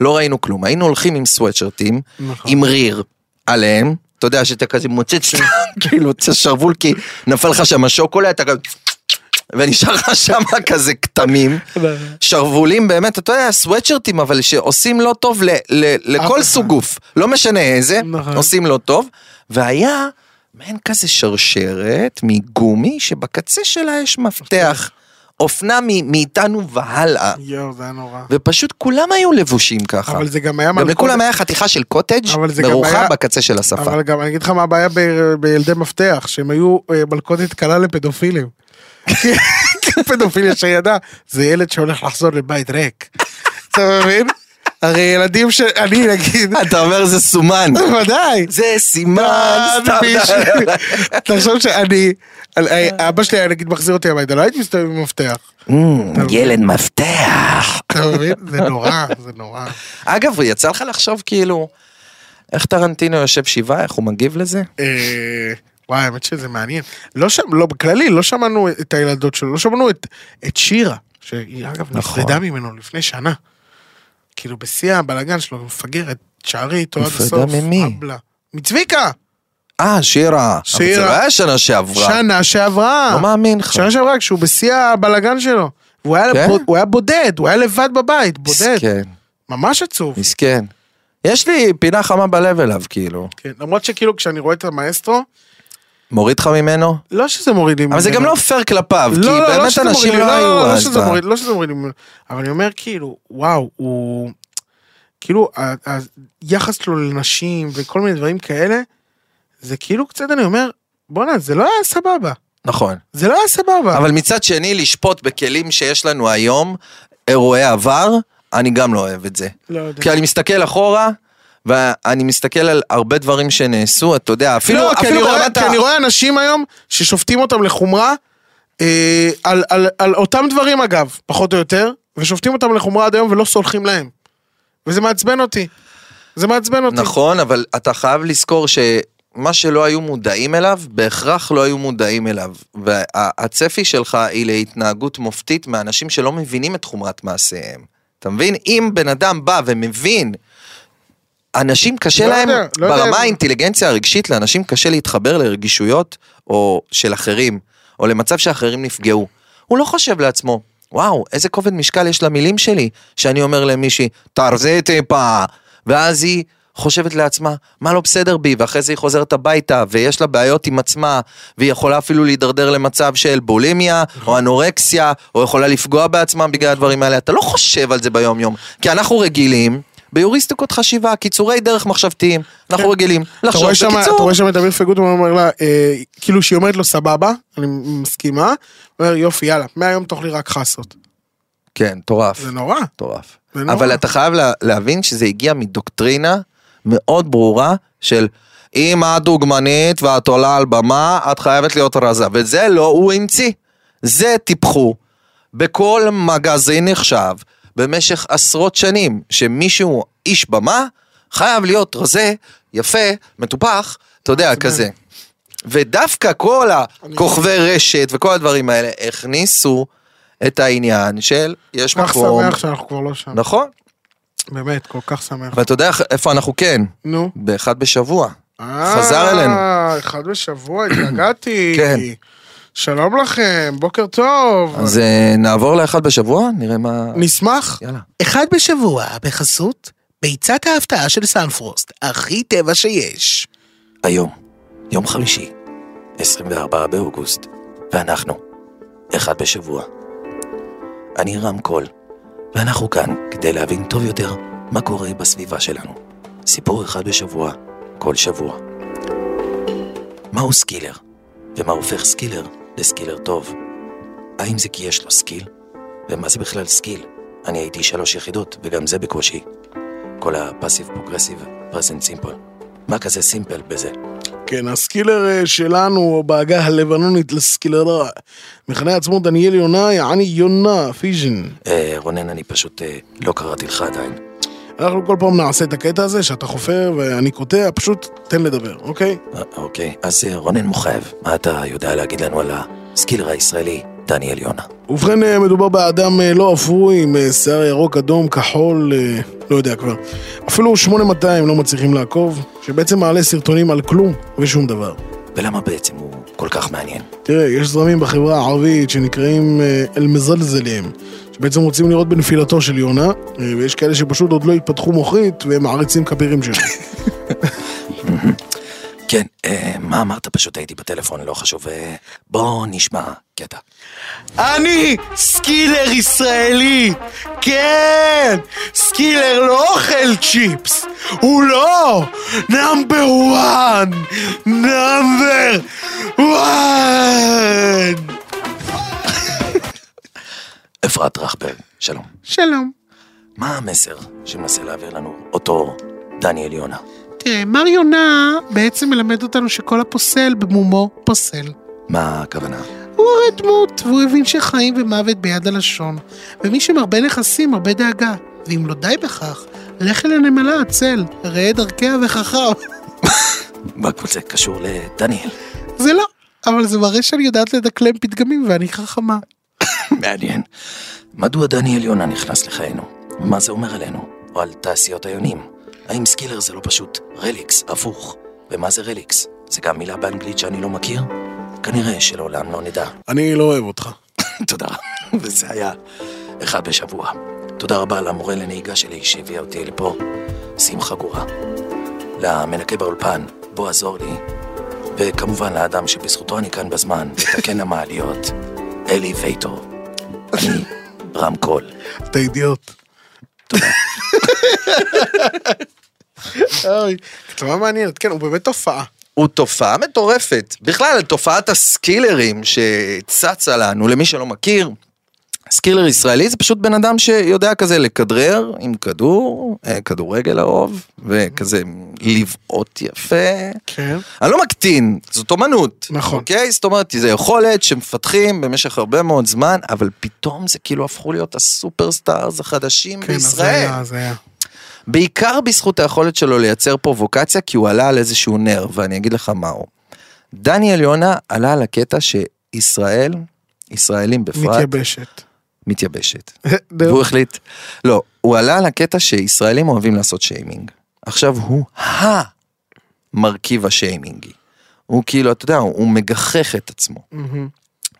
S3: לא ראינו כלום, היינו הולכים עם סוואטשרטים,
S2: נכון.
S3: עם ריר עליהם, אתה יודע שאתה כזה מוצץ, כאילו, את השרוול כי נפל לך שם השוקולד, אתה גם... ונשאר לך שם כזה כתמים, שרוולים באמת, אתה יודע, סוואטשרטים, אבל שעושים לא טוב ל- ל- לכל
S2: אחד.
S3: סוג גוף, לא משנה איזה,
S2: נכון.
S3: עושים לא טוב, והיה מעין כזה שרשרת מגומי, שבקצה שלה יש מפתח, אופנה מ- מאיתנו והלאה.
S2: יואו, זה היה נורא.
S3: ופשוט כולם היו לבושים ככה.
S2: אבל זה גם היה
S3: גם לכולם
S2: מלכודת.
S3: היה חתיכה של קוטג'
S2: אבל זה גם
S3: מרוחה
S2: היה-
S3: בקצה של השפה.
S2: אבל גם אני אגיד לך מה הבעיה ב- בילדי מפתח, שהם היו אה, מלכודת קלה לפדופילים. כי- כי פדופיליה שידע, זה ילד שהולך לחזור לבית ריק. אתה מבין? הרי ילדים ש... אני נגיד,
S3: אתה אומר זה סומן.
S2: בוודאי.
S3: זה סימן, סתם.
S2: מישהו- תחשוב שאני, על- אבא שלי היה נגיד מחזיר אותי הביתה, לא הייתי מסתובב עם מפתח.
S3: Mm, ילד מפתח.
S2: אתה מבין? זה נורא, זה נורא.
S3: אגב, יצא לך לחשוב כאילו, איך טרנטינו יושב שבעה, איך הוא מגיב לזה?
S2: אה, וואי, האמת שזה מעניין. לא שם, לא, בכללי, לא שמענו את הילדות שלו, לא שמענו את- את שירה. שהיא אגב
S3: נכון.
S2: נפרדה ממנו לפני שנה. כאילו בשיא הבלאגן שלו, מפגרת, שערי איתו עד
S3: נפרדה
S2: הסוף.
S3: ממי?
S2: אבלה. מצביקה!
S3: אה, שירה.
S2: שירה.
S3: אבל זה לא היה שנה שעברה.
S2: שנה שעברה.
S3: לא מאמין לך.
S2: שנה שעברה, כשהוא בשיא הבלאגן שלו. והוא היה,
S3: כן?
S2: בו, הוא היה בודד, הוא היה לבד בבית, בודד.
S3: מסכן,
S2: ממש עצוב.
S3: מסכן. יש לי פינה חמה בלב אליו, כאילו.
S2: כן, למרות שכאילו כשאני רואה את המאסטרו,
S3: מוריד לך ממנו?
S2: לא שזה מוריד לי
S3: אבל זה
S2: ממנו.
S3: גם לא פייר כלפיו, כי
S2: לא, לא, לא
S3: באמת
S2: שזה מוריד
S3: אנשים
S2: לי,
S3: לא
S2: לא, לא,
S3: היו
S2: לא
S3: אז
S2: שזה
S3: ב-
S2: מוריד, לא שזה מוריד לי, ממנו. אבל אני אומר כאילו, וואו, הוא... כאילו, ה- ה- היחס שלו לנשים וכל מיני דברים כאלה, זה כאילו קצת, אני אומר, בואנה, זה לא היה סבבה.
S3: נכון.
S2: זה לא היה סבבה.
S3: אבל מצד שני, לשפוט בכלים שיש לנו היום, אירועי עבר, אני גם לא אוהב את זה.
S2: לא יודע.
S3: כי אני מסתכל אחורה, ואני מסתכל על הרבה דברים שנעשו, אתה יודע, אפילו,
S2: לא, כי אני,
S3: אפילו
S2: רואה,
S3: ברמת
S2: כי
S3: ה-
S2: אני רואה אנשים היום ששופטים אותם לחומרה אה, על, על, על אותם דברים אגב, פחות או יותר, ושופטים אותם לחומרה עד היום ולא סולחים להם. וזה מעצבן אותי. זה מעצבן אותי.
S3: נכון, אבל אתה חייב לזכור שמה שלא היו מודעים אליו, בהכרח לא היו מודעים אליו. והצפי שלך היא להתנהגות מופתית מאנשים שלא מבינים את חומרת מעשיהם. אתה מבין? אם בן אדם בא ומבין, אנשים קשה
S2: לא
S3: להם,
S2: יודע, לא יודע.
S3: ברמה האינטליגנציה הרגשית, לאנשים קשה להתחבר לרגישויות או של אחרים, או למצב שאחרים נפגעו. הוא לא חושב לעצמו, וואו, איזה כובד משקל יש למילים שלי, שאני אומר למישהי, תרזה טיפה, ואז היא חושבת לעצמה, מה לא בסדר בי, ואחרי זה היא חוזרת הביתה, ויש לה בעיות עם עצמה, והיא יכולה אפילו להידרדר למצב של בולימיה,
S2: נכון.
S3: או אנורקסיה, או יכולה לפגוע בעצמה בגלל הדברים האלה, אתה לא חושב על זה ביום יום, כי אנחנו רגילים. ביוריסטיקות חשיבה, קיצורי דרך מחשבתיים, אנחנו רגילים
S2: כן. אתה
S3: לחשוב
S2: רואה שם- אתה
S3: בקיצור.
S2: רואה שם את אמיר פגוטמן אומר לה, אה, כאילו שהיא אומרת לו סבבה, אני מסכימה, הוא אומר יופי יאללה, מהיום תאכלי רק חסות.
S3: כן, מטורף,
S2: זה נורא.
S3: מטורף.
S2: זה נורא.
S3: אבל אתה חייב לה- להבין שזה הגיע מדוקטרינה מאוד ברורה של אם את דוגמנית ואת עולה על במה, את חייבת להיות רזה, וזה לא הוא המציא. זה טיפחו בכל מגזין נחשב במשך עשרות שנים, שמישהו, איש במה, חייב להיות רזה, יפה, מטופח, אתה יודע, כזה. ודווקא כל הכוכבי רשת וכל הדברים האלה הכניסו את העניין של יש
S2: כל כך
S3: מקום,
S2: שמח שאנחנו כבר לא שם.
S3: נכון,
S2: באמת, כל כך שמח.
S3: ואתה יודע איפה אנחנו כן,
S2: נו.
S3: באחד בשבוע,
S2: אה,
S3: חזר אלינו.
S2: אחד בשבוע, התגעגעתי.
S3: כן.
S2: שלום לכם, בוקר טוב.
S3: אז אה, נעבור לאחד בשבוע, נראה מה,
S2: נשמח.
S3: יאללה.
S2: אחד בשבוע, בחסות, ביצת ההפתעה של סנפרוסט, הכי טבע שיש.
S3: היום, יום חמישי, 24 באוגוסט, ואנחנו, אחד בשבוע. אני רם קול, ואנחנו כאן כדי להבין טוב יותר מה קורה בסביבה שלנו. סיפור אחד בשבוע, כל שבוע. מהו סקילר? ומה הופך סקילר לסקילר טוב? האם זה כי יש לו סקיל? ומה זה בכלל סקיל? אני הייתי שלוש יחידות, וגם זה בקושי. כל הפאסיב פרוגרסיב, פרזנט סימפל. מה כזה סימפל בזה?
S2: כן, הסקילר אה, שלנו בעגה הלבנונית לסקילרה. מכנה עצמו דניאל יונה, יעני יונה, פיז'ן.
S3: אה, רונן, אני פשוט אה, לא קראתי לך עדיין.
S2: אנחנו כל פעם נעשה את הקטע הזה שאתה חופר ואני קוטע, פשוט תן לדבר, אוקיי?
S3: אה, אוקיי, אז אה, רונן מוכב, מה אתה יודע להגיד לנו על הסקילר הישראלי, דניאל יונה?
S2: ובכן, אה, מדובר באדם אה, לא אפוי, עם אה, שיער ירוק, אדום, כחול, אה, לא יודע כבר. אפילו 8200 לא מצליחים לעקוב, שבעצם מעלה סרטונים על כלום ושום דבר.
S3: ולמה בעצם הוא כל כך מעניין?
S2: תראה, יש זרמים בחברה הערבית שנקראים אה, אל-מזלזלים, שבעצם רוצים לראות בנפילתו של יונה, אה, ויש כאלה שפשוט עוד לא התפתחו מוחית והם מעריצים כבירים שלו.
S3: כן, אה, מה אמרת? פשוט הייתי בטלפון, לא חשוב. אה, בוא נשמע קטע.
S2: אני סקילר ישראלי! כן! סקילר לא אוכל צ'יפס! הוא לא! נאמבר וואן! נאמבר וואן!
S3: אפרת רכברג, שלום.
S5: שלום.
S3: מה המסר שמנסה להעביר לנו אותו דניאל יונה?
S5: תראה, מר יונה אה, בעצם מלמד אותנו שכל הפוסל במומו פוסל.
S3: מה הכוונה?
S5: הוא הרי דמות, והוא הבין שחיים ומוות ביד הלשון. ומי שמרבה נכסים, מרבה דאגה. ואם לא די בכך, לך אל הנמלה עצל, ראה דרכיה וחכם.
S3: מה כל זה קשור לדניאל?
S5: זה לא, אבל זה מראה שאני יודעת לדקלם פתגמים ואני חכמה.
S3: מעניין. מדוע דניאל יונה נכנס לחיינו? מה זה אומר עלינו? או על תעשיות היונים? האם סקילר זה לא פשוט רליקס, הפוך? ומה זה רליקס? זה גם מילה באנגלית שאני לא מכיר? כנראה שלעולם לא נדע.
S2: אני לא אוהב אותך.
S3: תודה. וזה היה אחד בשבוע. תודה רבה למורה לנהיגה שלי שהביאה אותי לפה, שמחה גורה. למנקה באולפן, בועז אורלי. וכמובן לאדם שבזכותו אני כאן בזמן, מתקן המעליות, אלי וייטור. אני רם קול.
S2: אתה אידיוט. תודה. אוי, כתבה מעניינת, כן, הוא באמת תופעה.
S3: הוא תופעה מטורפת. בכלל, תופעת הסקילרים שצצה לנו, למי שלא מכיר, סקילר ישראלי זה פשוט בן אדם שיודע כזה לכדרר עם כדור, אה, כדורגל אהוב, וכזה לבעוט יפה.
S2: כן.
S3: אני לא מקטין, זאת אומנות.
S2: נכון.
S3: אוקיי? זאת אומרת, זו יכולת שמפתחים במשך הרבה מאוד זמן, אבל פתאום זה כאילו הפכו להיות הסופרסטארס החדשים
S2: כן, אז זה
S3: בישראל.
S2: היה, זה היה.
S3: בעיקר בזכות היכולת שלו לייצר פרובוקציה, כי הוא עלה על איזשהו נר, ואני אגיד לך מהו. דניאל יונה עלה על הקטע שישראל, ישראלים בפרט,
S2: מתייבשת.
S3: מתייבשת. והוא החליט, לא, הוא עלה על הקטע שישראלים אוהבים לעשות שיימינג. עכשיו הוא המרכיב השיימינגי. הוא כאילו, אתה יודע, הוא מגחך את עצמו.
S2: מהמם.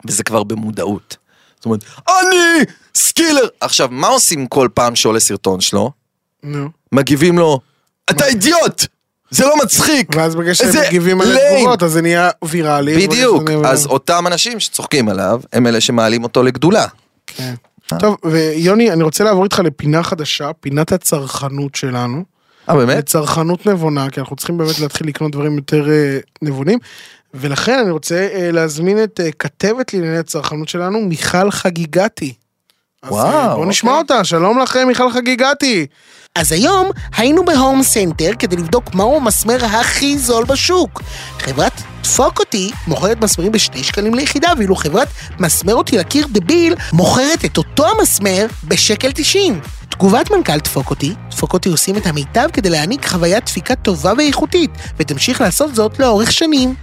S3: וזה כבר במודעות. זאת אומרת, אני סקילר! עכשיו, מה עושים כל פעם שעולה סרטון שלו?
S2: נו.
S3: מגיבים לו, אתה אידיוט! זה לא מצחיק!
S2: ואז בגלל שהם
S3: איזה
S2: מגיבים על
S3: lame.
S2: התגובות, אז זה נהיה ויראלי. ובגלל
S3: בדיוק,
S2: שזה נהיה-
S3: אז אותם אנשים שצוחקים עליו, הם אלה שמעלים אותו לגדולה.
S2: כן. טוב, ויוני, אני רוצה לעבור איתך לפינה חדשה, פינת הצרכנות שלנו.
S3: אה, באמת?
S2: לצרכנות נבונה, כי אנחנו צריכים באמת להתחיל לקנות דברים יותר אה, נבונים. ולכן אני רוצה אה, להזמין את אה, כתבת לענייני הצרכנות שלנו, מיכל חגיגתי. אז, אה,
S3: וואו,
S2: בואו נשמע
S3: אוקיי.
S2: אותה, שלום לך אה, מיכל חגיגתי.
S6: אז היום היינו בהום סנטר כדי לבדוק מהו המסמר הכי זול בשוק. חברת דפוק אותי מוכרת מסמרים בשני שקלים ליחידה, ואילו חברת מסמר אותי לקיר דביל מוכרת את אותו המסמר בשקל תשעים. תגובת מנכ"ל דפוק אותי, דפוק אותי עושים את המיטב כדי להעניק חוויית דפיקה טובה ואיכותית, ותמשיך לעשות זאת לאורך שנים.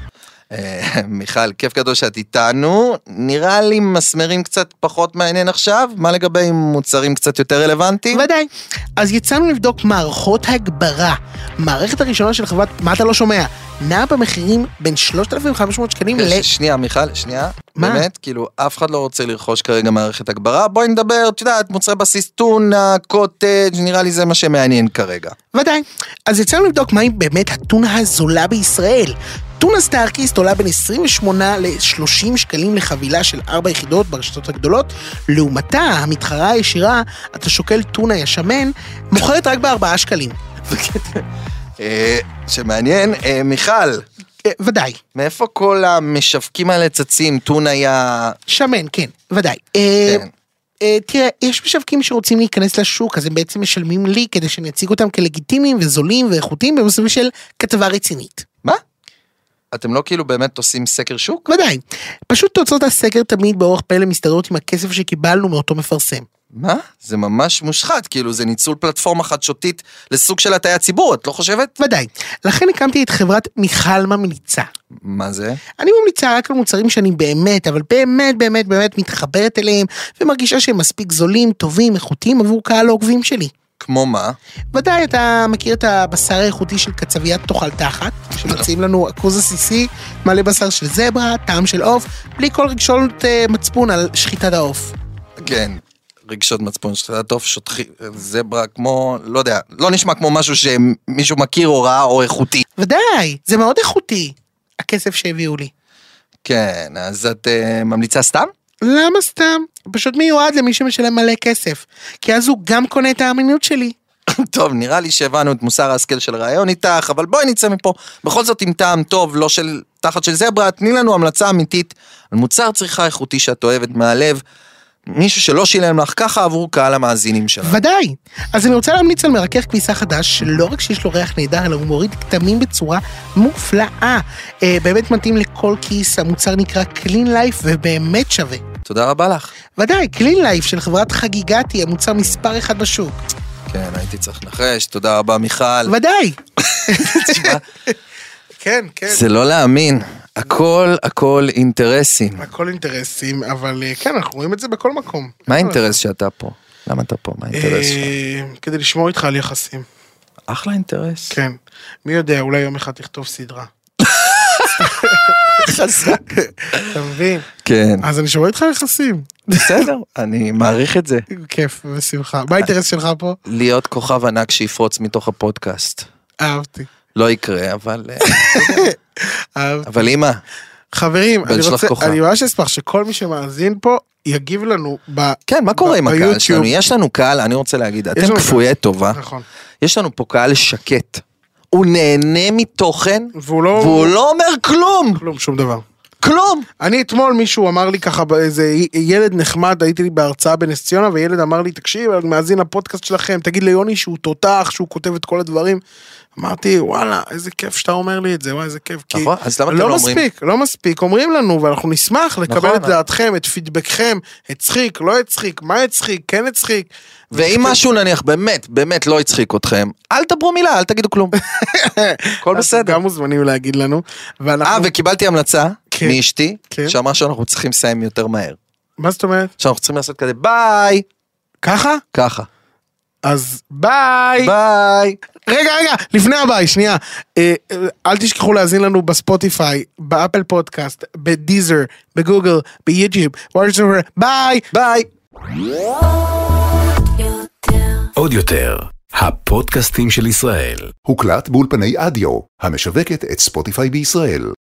S3: אה, מיכל, כיף גדול שאת איתנו. נראה לי מסמרים קצת פחות מעניין עכשיו, מה לגבי מוצרים קצת יותר רלוונטיים?
S6: ודאי. אז יצאנו לבדוק מערכות הגברה. המערכת הראשונה של חברת, מה אתה לא שומע? נעה במחירים בין 3,500 שקלים ל...
S3: ש- שנייה מיכל, שנייה,
S6: מה?
S3: באמת, כאילו אף אחד לא רוצה לרכוש כרגע מערכת הגברה, בואי נדבר, את יודעת, מוצרי בסיס טונה, קוטג', נראה לי זה מה שמעניין כרגע.
S6: ודאי. אז יצאנו לבדוק מהי באמת הטונה הזולה בישראל. טונה סטארקיסט עולה בין 28 ל-30 שקלים לחבילה של 4 יחידות ברשתות הגדולות, לעומתה, המתחרה הישירה, אתה שוקל טונה ישמן, מוכרת רק ב-4 שקלים.
S3: אה, שמעניין, אה, מיכל,
S6: אה, ודאי.
S3: מאיפה כל המשווקים האלה צצים, טונה היה...
S6: שמן, כן, ודאי. אה,
S3: כן.
S6: אה, תראה, יש משווקים שרוצים להיכנס לשוק, אז הם בעצם משלמים לי כדי שאני אציג אותם כלגיטימיים וזולים ואיכותיים במסלול של כתבה רצינית.
S3: מה? אתם לא כאילו באמת עושים סקר שוק?
S6: ודאי. פשוט תוצאות הסקר תמיד באורח פלא מסתדרות עם הכסף שקיבלנו מאותו מפרסם.
S3: מה? זה ממש מושחת, כאילו זה ניצול פלטפורמה חדשותית לסוג של הטעיית ציבור, את לא חושבת?
S6: ודאי. לכן הקמתי את חברת מיכל ממליצה.
S3: מה זה?
S6: אני ממליצה רק על מוצרים שאני באמת, אבל באמת באמת באמת מתחברת אליהם, ומרגישה שהם מספיק זולים, טובים, איכותיים עבור קהל העוקבים שלי.
S3: כמו מה?
S6: ודאי אתה מכיר את הבשר האיכותי של קצביית תאכל תחת, שמציעים לנו עכוז עסיסי, מלא בשר של זברה, טעם של עוף, בלי כל רגשולות אה, מצפון על שחיטת העוף.
S3: כן. רגשות מצפון שלך, טוב, שוטחי, זברה כמו, לא יודע, לא נשמע כמו משהו שמישהו מכיר או ראה או איכותי.
S6: ודאי, זה מאוד איכותי, הכסף שהביאו לי.
S3: כן, אז את uh, ממליצה סתם?
S6: למה סתם? פשוט מיועד למי שמשלם מלא כסף, כי אז הוא גם קונה את האמינות שלי.
S3: טוב, נראה לי שהבנו את מוסר ההשכל של רעיון איתך, אבל בואי נצא מפה. בכל זאת עם טעם טוב, לא של תחת של זברה, תני לנו המלצה אמיתית על מוצר צריכה איכותי שאת אוהבת מהלב. מישהו שלא שילם לך ככה עבור קהל המאזינים שלנו.
S6: ודאי. אז אני רוצה להמליץ על מרכך כביסה חדש, שלא רק שיש לו ריח נהדר, אלא הוא מוריד כתמים בצורה מופלאה. אה, באמת מתאים לכל כיס, המוצר נקרא Clean Life ובאמת שווה.
S3: תודה רבה לך.
S6: ודאי, Clean Life של חברת חגיגתי, המוצר מספר אחד בשוק.
S3: כן, הייתי צריך לנחש, תודה רבה מיכל.
S6: ודאי.
S3: תשמע,
S2: כן, כן.
S3: זה לא להאמין. הכל, הכל אינטרסים.
S2: הכל אינטרסים, אבל אה, כן, אנחנו רואים את זה בכל מקום.
S3: מה האינטרס שאתה פה? למה אתה פה? מה האינטרס שלך?
S2: אה, כדי לשמור איתך על יחסים,
S3: אחלה אינטרס.
S2: כן. מי יודע, אולי יום אחד תכתוב סדרה. אתה מבין?
S3: כן,
S2: אז אני שומר איתך על יחסים.
S3: בסדר, אני מעריך את זה.
S2: כיף ושמחה. מה האינטרס שלך פה?
S3: להיות כוכב ענק שיפרוץ מתוך הפודקאסט.
S2: אהבתי.
S3: לא יקרה, אבל... אה,
S2: אהבתי.
S3: אבל אמא,
S2: חברים,
S3: בן
S2: אני
S3: שלח
S2: רוצה,
S3: כוכב.
S2: אני ממש אשמח שכל מי שמאזין פה יגיב לנו ב...
S3: כן, מה קורה
S2: ב-
S3: עם הקהל
S2: ביוטיוב.
S3: שלנו? יש לנו קהל, אני רוצה להגיד,
S2: יש
S3: אתם
S2: לנו
S3: כפויי טובה.
S2: נכון.
S3: יש לנו פה קהל שקט. הוא נהנה מתוכן,
S2: והוא לא...
S3: והוא לא אומר כלום!
S2: כלום, שום דבר.
S3: כלום!
S2: אני אתמול מישהו אמר לי ככה, איזה ילד נחמד, הייתי לי בהרצאה בנס ציונה, וילד אמר לי, תקשיב, אני מאזין לפודקאסט שלכם, תגיד ליוני שהוא תותח, שהוא כותב את כל הדברים. אמרתי, וואלה, איזה כיף שאתה אומר לי את זה, וואי, איזה כיף. כי
S3: נכון, אז למה אתם
S2: לא
S3: לא אומרים?
S2: מספיק, לא מספיק, אומרים לנו, ואנחנו נשמח לקבל
S3: נכון,
S2: את דעתכם, את פידבקכם, הצחיק, לא הצחיק, מה הצחיק, כן הצחיק.
S3: ואם משהו נניח באמת, באמת לא הצחיק אתכם, אל תדברו מילה, אל תגידו כלום. הכל בסדר.
S2: גם מוזמנים להגיד לנו.
S3: אה,
S2: ואנחנו...
S3: וקיבלתי המלצה
S2: כן.
S3: מאשתי,
S2: כן.
S3: שאמרה שאנחנו צריכים לסיים יותר מהר.
S2: מה זאת אומרת?
S3: שאנחנו צריכים לעשות כזה ביי,
S2: ככה?
S3: ככה.
S2: אז ביי!
S3: ביי.
S2: רגע, רגע, לפני הביי, שנייה. אה, אה, אל תשכחו להאזין לנו בספוטיפיי, באפל פודקאסט, בדיזר, בגוגל, ביוטיוב, וואטסאפר, ביי! ביי!
S1: עוד יותר, הפודקאסטים של ישראל.
S7: הוקלט באולפני אדיו, המשווקת את ספוטיפיי בישראל.